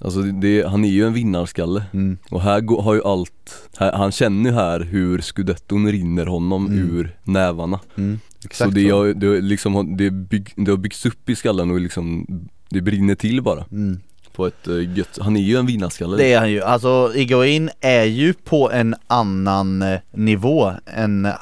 S1: Alltså det, det, han är ju en vinnarskalle
S2: Mm,
S1: och här går, har ju allt, här, han känner ju här hur scudetton rinner honom
S2: Mm.
S1: ur nävarna
S2: Mm, Exakt
S1: Så det,
S2: så.
S1: har- det, har liksom, har- det, bygg, det har byggts upp i skallen och liksom det brinner till bara
S2: Mm.
S1: på ett eh, gött, han är ju en vinnarskalle
S2: Det är han ju, alltså Iguain är ju på en annan eh, nivå än eh,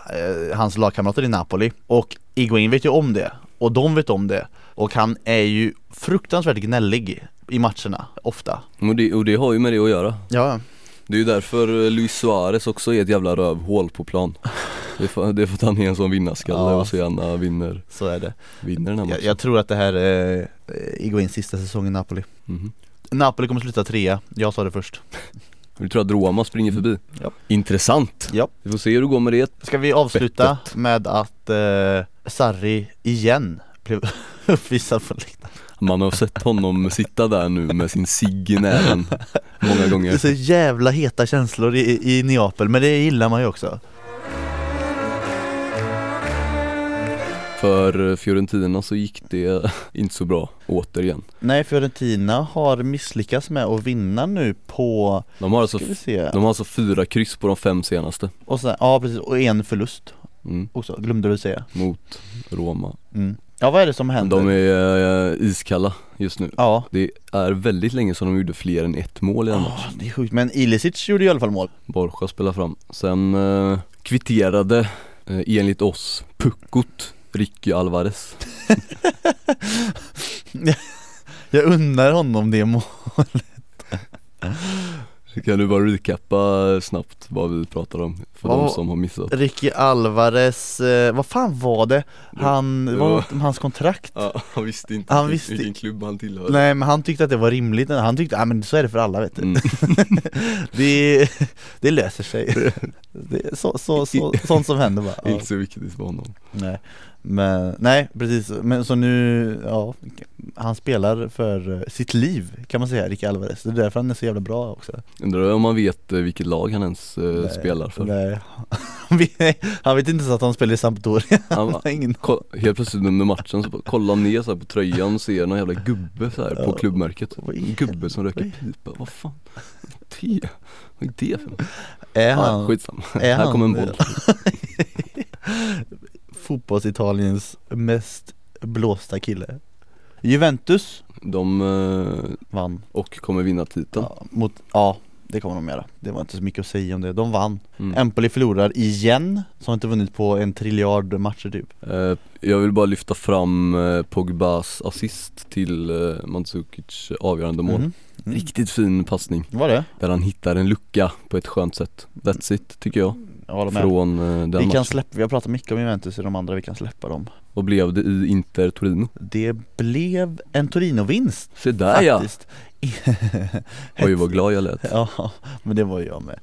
S2: hans lagkamrater i Napoli och Iguain vet ju om det och de vet om det och han är ju fruktansvärt gnällig i matcherna ofta
S1: och, det, och det har ju med det att göra
S2: Ja,
S1: Det är ju därför eh, Luis Suarez också är ett jävla rövhål på plan Det är för, det är för att han är en sån vinnarskalle
S2: Ja.
S1: och så gärna vinner,
S2: så är det
S1: vinner den här
S2: Jag,
S1: matchen
S2: jag tror att det här är eh, Iguains sista säsong i Napoli
S1: Mhm.
S2: Napoli kommer sluta trea, jag sa det först
S1: Du tror att Roma springer förbi?
S2: Ja.
S1: Intressant!
S2: Ja.
S1: Vi får se hur det går med det
S2: Ska vi avsluta med att eh, Sarri igen blev uppvisad på läktaren?
S1: Man har sett honom sitta där nu med sin cigg i näven många
S2: Det är
S1: gånger
S2: så jävla heta känslor i, i Neapel, men det gillar man ju också
S1: För eh, Fiorentina så gick det inte så bra, återigen
S2: Nej, Fiorentina har misslyckats med att vinna nu på,
S1: De har alltså,
S2: ska vi se,
S1: de har alltså fyra kryss på de fem senaste
S2: och sen, ja precis, och en förlust
S1: mm.
S2: också, glömde du säga
S1: Mot Roma
S2: mm. Ja vad är det som händer?
S1: De är eh, iskalla just nu.
S2: Ja,
S1: Det är väldigt länge sedan de gjorde fler än ett mål i en match.
S2: Ah, det är sjukt. Men Ilicic gjorde i alla fall mål.
S1: Borja spelar fram. Sen eh, kvitterade eh, enligt oss puckot Ricky Alvarez.
S2: Jag unnar honom det målet.
S1: Kan du bara recappa snabbt vad vi pratar om för
S2: Vad-
S1: de som har missat?
S2: Ricky Alvarez, eh, vad fan var det? Han, det
S1: det
S2: var
S1: var-
S2: något om hans kontrakt?
S1: Ja, han visste inte
S2: Han
S1: vilken,
S2: visste-
S1: vilken klubb han tillhörde.
S2: Nej men han tyckte att det var rimligt, han tyckte, ja men så är det för alla vet du
S1: Mm.
S2: Det, det löser sig det, är så, så, så, Sånt som händer bara ja.
S1: Inte så viktigt för honom.
S2: nej. Men, nej precis, men så nu, ja Han spelar för eh, sitt liv kan man säga, Rick Alvarez Det är därför han är så jävla bra också
S1: Undrar om man vet eh, vilket lag han ens eh,
S2: Nej,
S1: spelar för.
S2: nej. Han vet- Han vet inte ens att han spelar i Sampdoria,
S1: Han,
S2: han har ingen
S1: ko- helt plötsligt under matchen så bara kollar han ner så här på tröjan och ser någon jävla gubbe så här på
S2: Ja.
S1: klubbmärket.
S2: Vad i
S1: En gubbe som röker
S2: helvete?
S1: pipa, vad fan? Det? Vad är det för något?
S2: Är
S1: Ja,
S2: han
S1: skitsamma,
S2: är
S1: här
S2: han-
S1: kommer en boll.
S2: fotbolls-Italiens mest blåsta kille? Juventus
S1: De, eh,
S2: vann
S1: och kommer vinna titeln.
S2: Ja, mot, ja, det kommer de göra. Det var inte så mycket att säga om det. De vann.
S1: Mm.
S2: Empoli förlorar igen, som har inte vunnit på en triljard matcher typ.
S1: Eh, jag vill bara lyfta fram eh, Pogbas assist till eh, Mandzukic avgörande mål.
S2: Mhm. Mm.
S1: Riktigt fin passning
S2: Var det?
S1: där han hittar en lucka på ett skönt sätt. That's it tycker jag.
S2: Jag håller med.
S1: Från eh, den
S2: Vi
S1: matchen.
S2: kan släppa, vi har pratat mycket om Juventus i de andra, vi kan släppa dem.
S1: Vad blev det i Inter Torino?
S2: Det blev en Torino-vinst
S1: Se där Ah, ja!
S2: faktiskt.
S1: Oj vad glad jag lät.
S2: Ja, men det var ju jag med.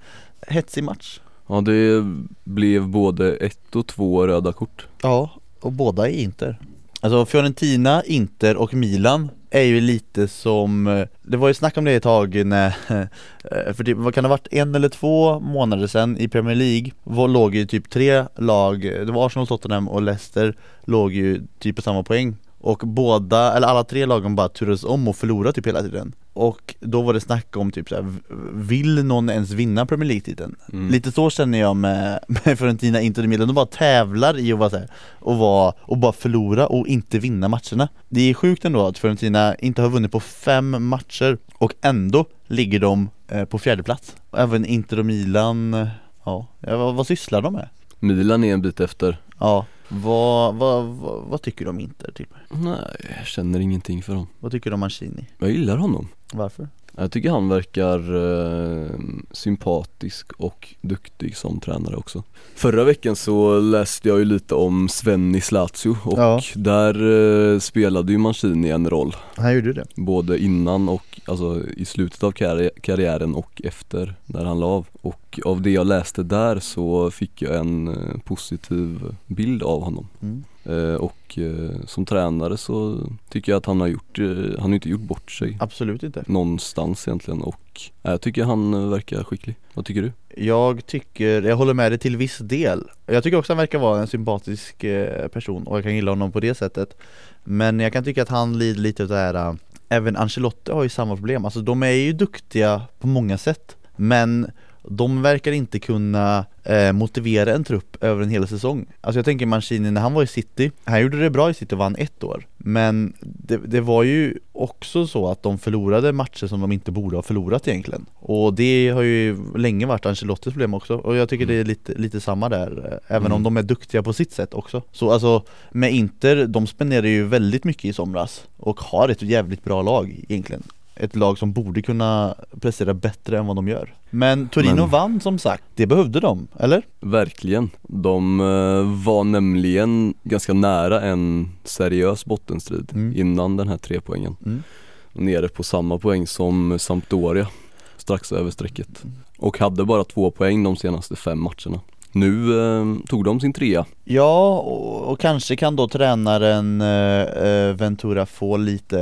S2: Hetsig match.
S1: Ja det blev både ett och två röda kort.
S2: Ja, och båda är Inter. Alltså Fiorentina, Inter och Milan är ju lite som, eh, det var ju snack om det ett tag när, eh, för typ, vad kan det ha varit, en eller två månader sedan i Premier League var, låg ju typ tre lag, eh, det var Arsenal, Tottenham och Leicester låg ju typ på samma poäng och båda, eller alla tre lagen bara turades om och förlorade typ hela tiden Och då var det snack om typ såhär, v- vill någon ens vinna Premier League-titeln?
S1: Mm.
S2: Lite så känner jag med, med Fiorentina, Inter och Milan, de bara tävlar i att vara så här, och, vara, och bara förlora och inte vinna matcherna Det är sjukt ändå att Fiorentina inte har vunnit på fem matcher och ändå ligger de eh, på fjärde plats Och Även Inter och Milan, eh, ja, ja vad, vad sysslar de med?
S1: Milan är en bit efter.
S2: Ja, vad, vad, vad, vad tycker de om Inter typ?
S1: Nej, jag känner ingenting för dem.
S2: Vad tycker de om Mancini?
S1: Jag gillar honom.
S2: Varför?
S1: Jag tycker han verkar eh, sympatisk och duktig som tränare också Förra veckan så läste jag ju lite om Svennis Lazio och
S2: Ja.
S1: där eh, spelade ju Mancini en roll
S2: Han gjorde ju det
S1: Både innan och alltså i slutet av karri- karriären och efter när han la av Och av det jag läste där så fick jag en eh, positiv bild av honom
S2: mm.
S1: eh, Och eh, som tränare så tycker jag att han har gjort, eh, han har inte gjort bort sig
S2: Absolut inte
S1: någonstans egentligen och nej, jag tycker han eh, verkar skicklig. Vad tycker du?
S2: Jag tycker, jag håller med dig till viss del Jag tycker också han verkar vara en sympatisk eh, person och jag kan gilla honom på det sättet Men jag kan tycka att han lider lite av det här eh, Även Ancelotti har ju samma problem, alltså de är ju duktiga på många sätt Men de verkar inte kunna eh, motivera en trupp över en hel säsong Alltså jag tänker Mancini när han var i City Han gjorde det bra i City och vann ett år Men det, det var ju också så att de förlorade matcher som de inte borde ha förlorat egentligen Och det har ju länge varit Ancelottis problem också Och jag tycker det är lite, lite samma där eh, Även om
S1: Mm.
S2: de är duktiga på sitt sätt också Så alltså med Inter, de spenderar ju väldigt mycket i somras Och har ett jävligt bra lag egentligen ett lag som borde kunna prestera bättre än vad de gör Men Torino
S1: Men-
S2: vann som sagt, det behövde de, eller?
S1: Verkligen. De eh, var nämligen ganska nära en seriös bottenstrid
S2: Mm.
S1: innan den här trepoängen.
S2: Mm.
S1: Nere på samma poäng som Sampdoria, strax över strecket. Och hade bara två poäng de senaste fem matcherna. Nu eh, tog de sin trea.
S2: Ja, och, och kanske kan då tränaren eh, eh, Ventura få lite,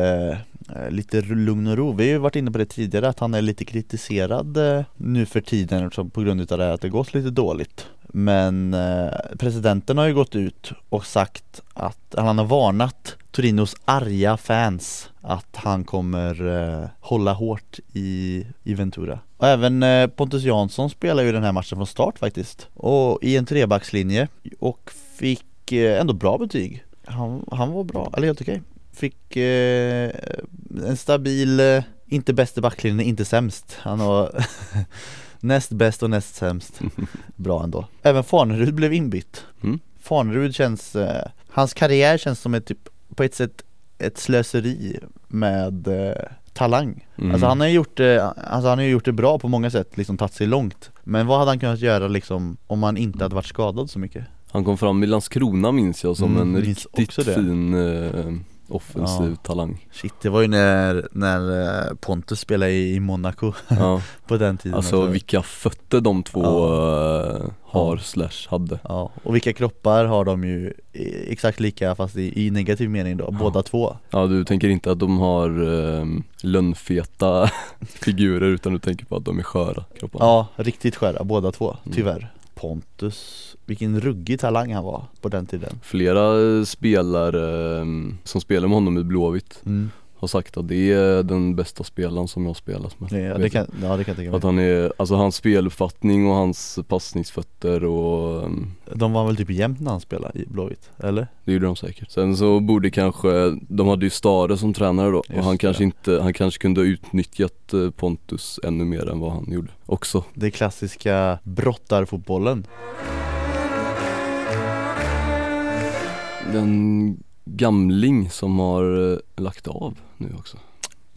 S2: eh, lite lugn och ro. Vi har ju varit inne på det tidigare att han är lite kritiserad eh, nu för tiden eftersom på grund av det här att det gått lite dåligt. Men eh, presidenten har ju gått ut och sagt att han har varnat Torinos arga fans att han kommer eh, hålla hårt i, i Ventura. Och även eh, Pontus Jansson spelar ju den här matchen från start faktiskt. Och i en trebackslinje och fick eh, ändå bra betyg. han, han var bra, eller helt okej Fick eh, en stabil, eh, inte bäst i backlinjen, inte sämst Han var näst bäst och näst sämst Bra ändå Även Farnerud blev inbytt
S1: Mm.
S2: Farnerud känns, eh, hans karriär känns som ett typ, på ett sätt ett slöseri med eh, talang
S1: Mm.
S2: Alltså han har ju gjort det, alltså han har ju gjort det bra på många sätt, liksom tagit sig långt Men vad hade han kunnat göra liksom om han inte hade varit skadad så mycket?
S1: Han kom fram i Landskrona minns jag som
S2: Mm,
S1: en
S2: minns
S1: riktigt
S2: också det.
S1: fin eh, offensiv
S2: Ja.
S1: talang
S2: Shit, det var ju när, när eh, Pontus spelade i i Monaco
S1: ja.
S2: på den tiden
S1: Alltså vilka fötter de två eh, har
S2: Ja.
S1: slash hade
S2: Ja, och vilka kroppar har de ju i- exakt lika fast i, i negativ mening då,
S1: Ja.
S2: båda två
S1: Ja du tänker inte att de har um, lönnfeta figurer utan du tänker på att de är sköra kropparna
S2: Ja, riktigt skära båda två,
S1: Mm.
S2: tyvärr Pontus, vilken ruggig talang han var på den tiden
S1: Flera eh, spelare ehm, som spelar med honom i Blåvitt
S2: mm.
S1: har sagt att det är den bästa spelaren som jag har spelat med
S2: ja,
S1: Vet
S2: det
S1: du?
S2: kan, ja, det kan jag tänka
S1: Att
S2: mig
S1: han är, alltså hans speluppfattning och hans passningsfötter och ehm,
S2: De var väl typ jämnt när han spelade i Blåvitt, eller?
S1: Det gjorde de säkert. Sen så borde kanske, de hade ju Stare som tränare då och
S2: Just
S1: han
S2: det.
S1: kanske inte, han kanske kunde ha utnyttjat eh, Pontus ännu mer än vad han gjorde också.
S2: Det klassiska brottarfotbollen
S1: Den gamling som har eh, lagt av nu också.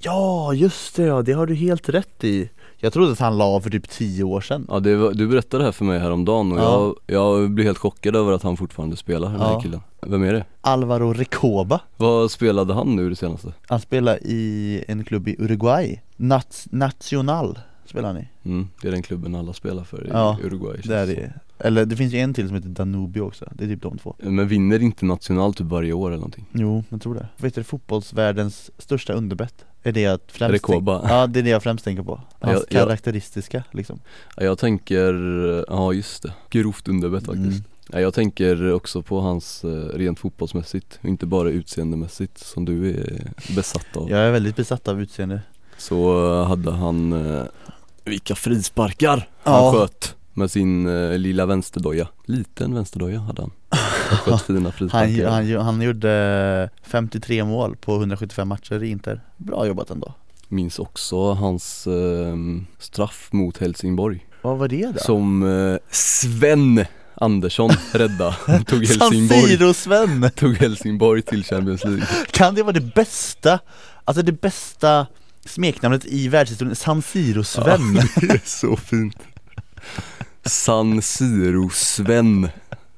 S2: Ja just det ja, det har du helt rätt i Jag trodde att han la av för typ 10 år sedan
S1: Ja det var, du berättade det här för mig häromdagen och
S2: Ja.
S1: jag, jag blev helt chockad över att han fortfarande spelar den här
S2: Ja.
S1: killen. Vem är det?
S2: Alvaro Recoba
S1: Vad spelade han nu det senaste?
S2: Han spelar i en klubb i Uruguay Nat- Nacional spelar han i
S1: Mm, det är den klubben alla spelar för i
S2: Ja,
S1: Uruguay känns
S2: det är
S1: det
S2: det. Eller det finns ju en till som heter Danubio också, det är typ de två
S1: som. Men vinner inte National typ varje år eller någonting?
S2: Jo, jag tror det Vet du fotbollsvärldens största underbett? Är det jag främst
S1: Recoba.
S2: tänk- Ja det är det jag främst tänker på Hans
S1: Ja, jag-
S2: karaktäristiska liksom
S1: Ja, Jag tänker, ja just det, grovt underbett faktiskt.
S2: Mm.
S1: Ja, jag tänker också på hans eh, rent fotbollsmässigt, och inte bara utseendemässigt som du är besatt av.
S2: Jag är väldigt besatt av utseende
S1: Så eh, hade han, eh, vilka frisparkar
S2: Ja.
S1: han sköt med sin eh, lilla vänsterdoja. Liten vänsterdoja hade han. Han sköt fina
S2: Han,
S1: frisparkar.
S2: han, han gjorde 53 mål på 175 matcher i Inter Bra jobbat ändå
S1: Minns också hans eh, straff mot Helsingborg.
S2: Vad var det då?
S1: Som eh, Sven Andersson rädda. tog Helsingborg.
S2: Safiro-Sven!
S1: Tog Helsingborg till Champions League.
S2: Kan det vara det bästa, alltså det bästa smeknamnet i världshistorien? San Siro-Sven!
S1: det är så fint. San Siro-Sven.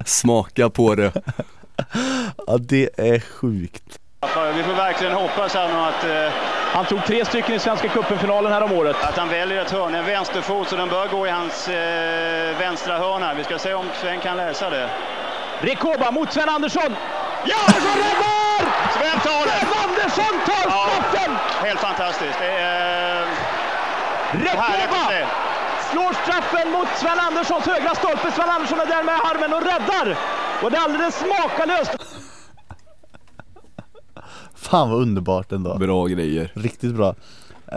S1: Smaka på det.
S2: Ja. det är sjukt
S3: Vi får verkligen hoppas här nu att eh,
S4: Han tog tre stycken i Svenska cupen-finalen här om året.
S3: att han väljer ett hörn, en vänsterfot, så den bör gå i hans eh, vänstra hörn här. Vi ska se om Sven kan läsa det.
S4: Rekoba mot Sven Andersson.
S3: Ja, så räddar! Sven tar det!
S4: Andersson tar
S3: Ja,
S4: skotten!
S3: helt fantastiskt. Det är eh, härligt att
S4: Rekoba
S3: se.
S4: slår straffen mot Sven Anderssons högra stolpe. Sven Andersson är där med armen och räddar. Och det är alldeles makalöst.
S2: Fan vad underbart ändå
S1: Bra grejer.
S2: Riktigt bra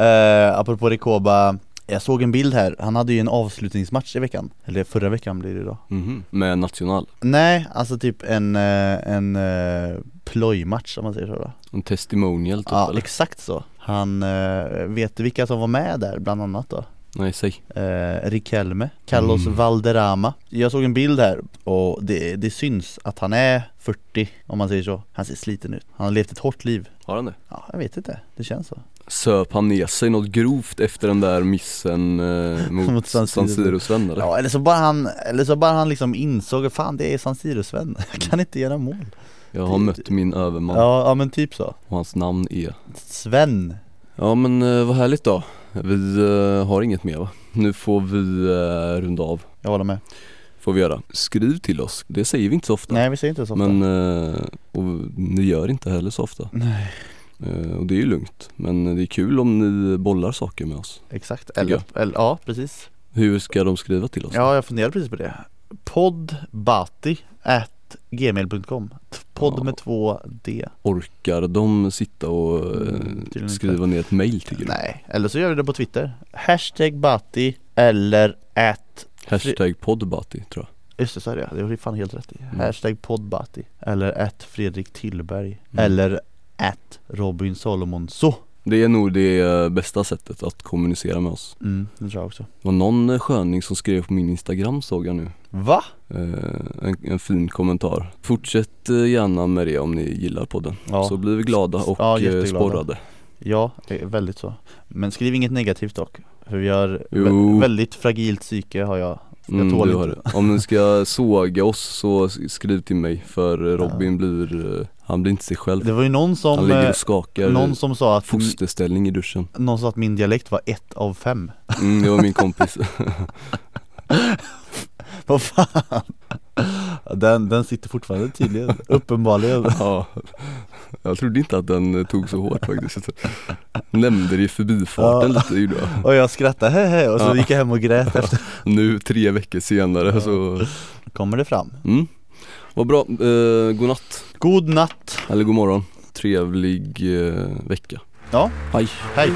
S2: eh, Apropå Rekoba jag såg en bild här, han hade ju en avslutningsmatch i veckan Eller förra veckan blir det då
S1: Med National.
S2: Nej, alltså typ en, eh, en eh, plojmatch om man säger så då
S1: En testimonial typ
S2: Ja,
S1: eller?
S2: exakt så. Han, eh, vet du vilka som var med där bland annat då?
S1: Nej, säg.
S2: Eh, Riquelme, Carlos
S1: Mm.
S2: Valderrama Jag såg en bild här och det, det syns att han är 40 om man säger så Han ser sliten ut, han har levt ett hårt liv
S1: Har han det?
S2: Ja, jag vet inte, det känns så
S1: Söp han ner sig något grovt efter den där missen eh, mot,
S2: Mot San
S1: San
S2: Siro.
S1: Siro-Sven eller?
S2: Ja, eller så bara han, eller så bara han liksom insåg att fan det är San Siro-Sven, jag kan inte göra mål
S1: Jag har mött min överman
S2: ja, ja men typ så
S1: och hans namn är
S2: Sven
S1: Ja men eh, vad härligt då. Vi eh, har inget mer va? Nu får vi eh, runda av.
S2: Jag håller med
S1: Får vi göra. Skriv till oss. Det säger vi inte så ofta.
S2: Nej vi säger inte så ofta
S1: Men, eh, och ni gör inte heller så ofta.
S2: Nej
S1: Eh, Och det är ju lugnt. Men det är kul om ni bollar saker med oss.
S2: Exakt,
S1: Tycker
S2: eller, eller ja precis
S1: Hur ska de skriva till oss?
S2: Ja, jag funderar precis på det. Poddbati at gmail.com T- Podd
S1: Ja.
S2: med två D.
S1: Orkar de sitta och eh,
S2: Mm, tydligen
S1: skriva ner ett mail tycker du?
S2: Nej, eller så gör vi det på Twitter. Hashtag Batti eller at
S1: Hashtag poddbati tror jag.
S2: Just det, så är det ja. Det har du fan helt rätt i.
S1: Mm.
S2: Hashtag poddbatti. Eller ett Fredrik Tillberg.
S1: Mm.
S2: Eller ett Robin Salomonsson.
S1: Det är nog det eh, bästa sättet att kommunicera med oss.
S2: Mm, det tror jag också.
S1: Det var någon eh, sköning som skrev på min Instagram såg jag nu.
S2: Va?
S1: Eh, en, en fin kommentar. Fortsätt eh, gärna med det om ni gillar podden.
S2: Ja,
S1: Så blir vi glada och
S2: Ja,
S1: eh,
S2: jätteglada.
S1: sporrade.
S2: ja det är väldigt så. Men skriv inget negativt dock. För vi har vä-
S1: Jo.
S2: väldigt fragilt psyke har jag. Jag
S1: Mm,
S2: tål
S1: du
S2: inte.
S1: har det. Om ni ska såga oss så s- skriv till mig för eh, Robin blir, eh, han blir inte sig själv.
S2: Det var ju någon
S1: Han
S2: som,
S1: ligger
S2: eh,
S1: och skakar
S2: någon
S1: i
S2: som sa att,
S1: fosterställning i duschen.
S2: någon sa att min dialekt var ett av fem.
S1: Mm, det var min kompis.
S2: Vad fan? Den, den sitter fortfarande tydligen, uppenbarligen.
S1: ja. Jag trodde inte att den eh, tog så hårt faktiskt. Nämnde det i förbifarten
S2: Ja.
S1: lite gjorde jag.
S2: Och jag skrattade hehe och så
S1: Ja.
S2: gick jag hem och grät efter.
S1: Nu tre veckor senare så,
S2: Kommer det fram.
S1: mm. Vad bra, eh, god natt
S2: God natt.
S1: eller god morgon. Trevlig eh, vecka.
S2: Ja.
S1: Hej.
S2: Hej.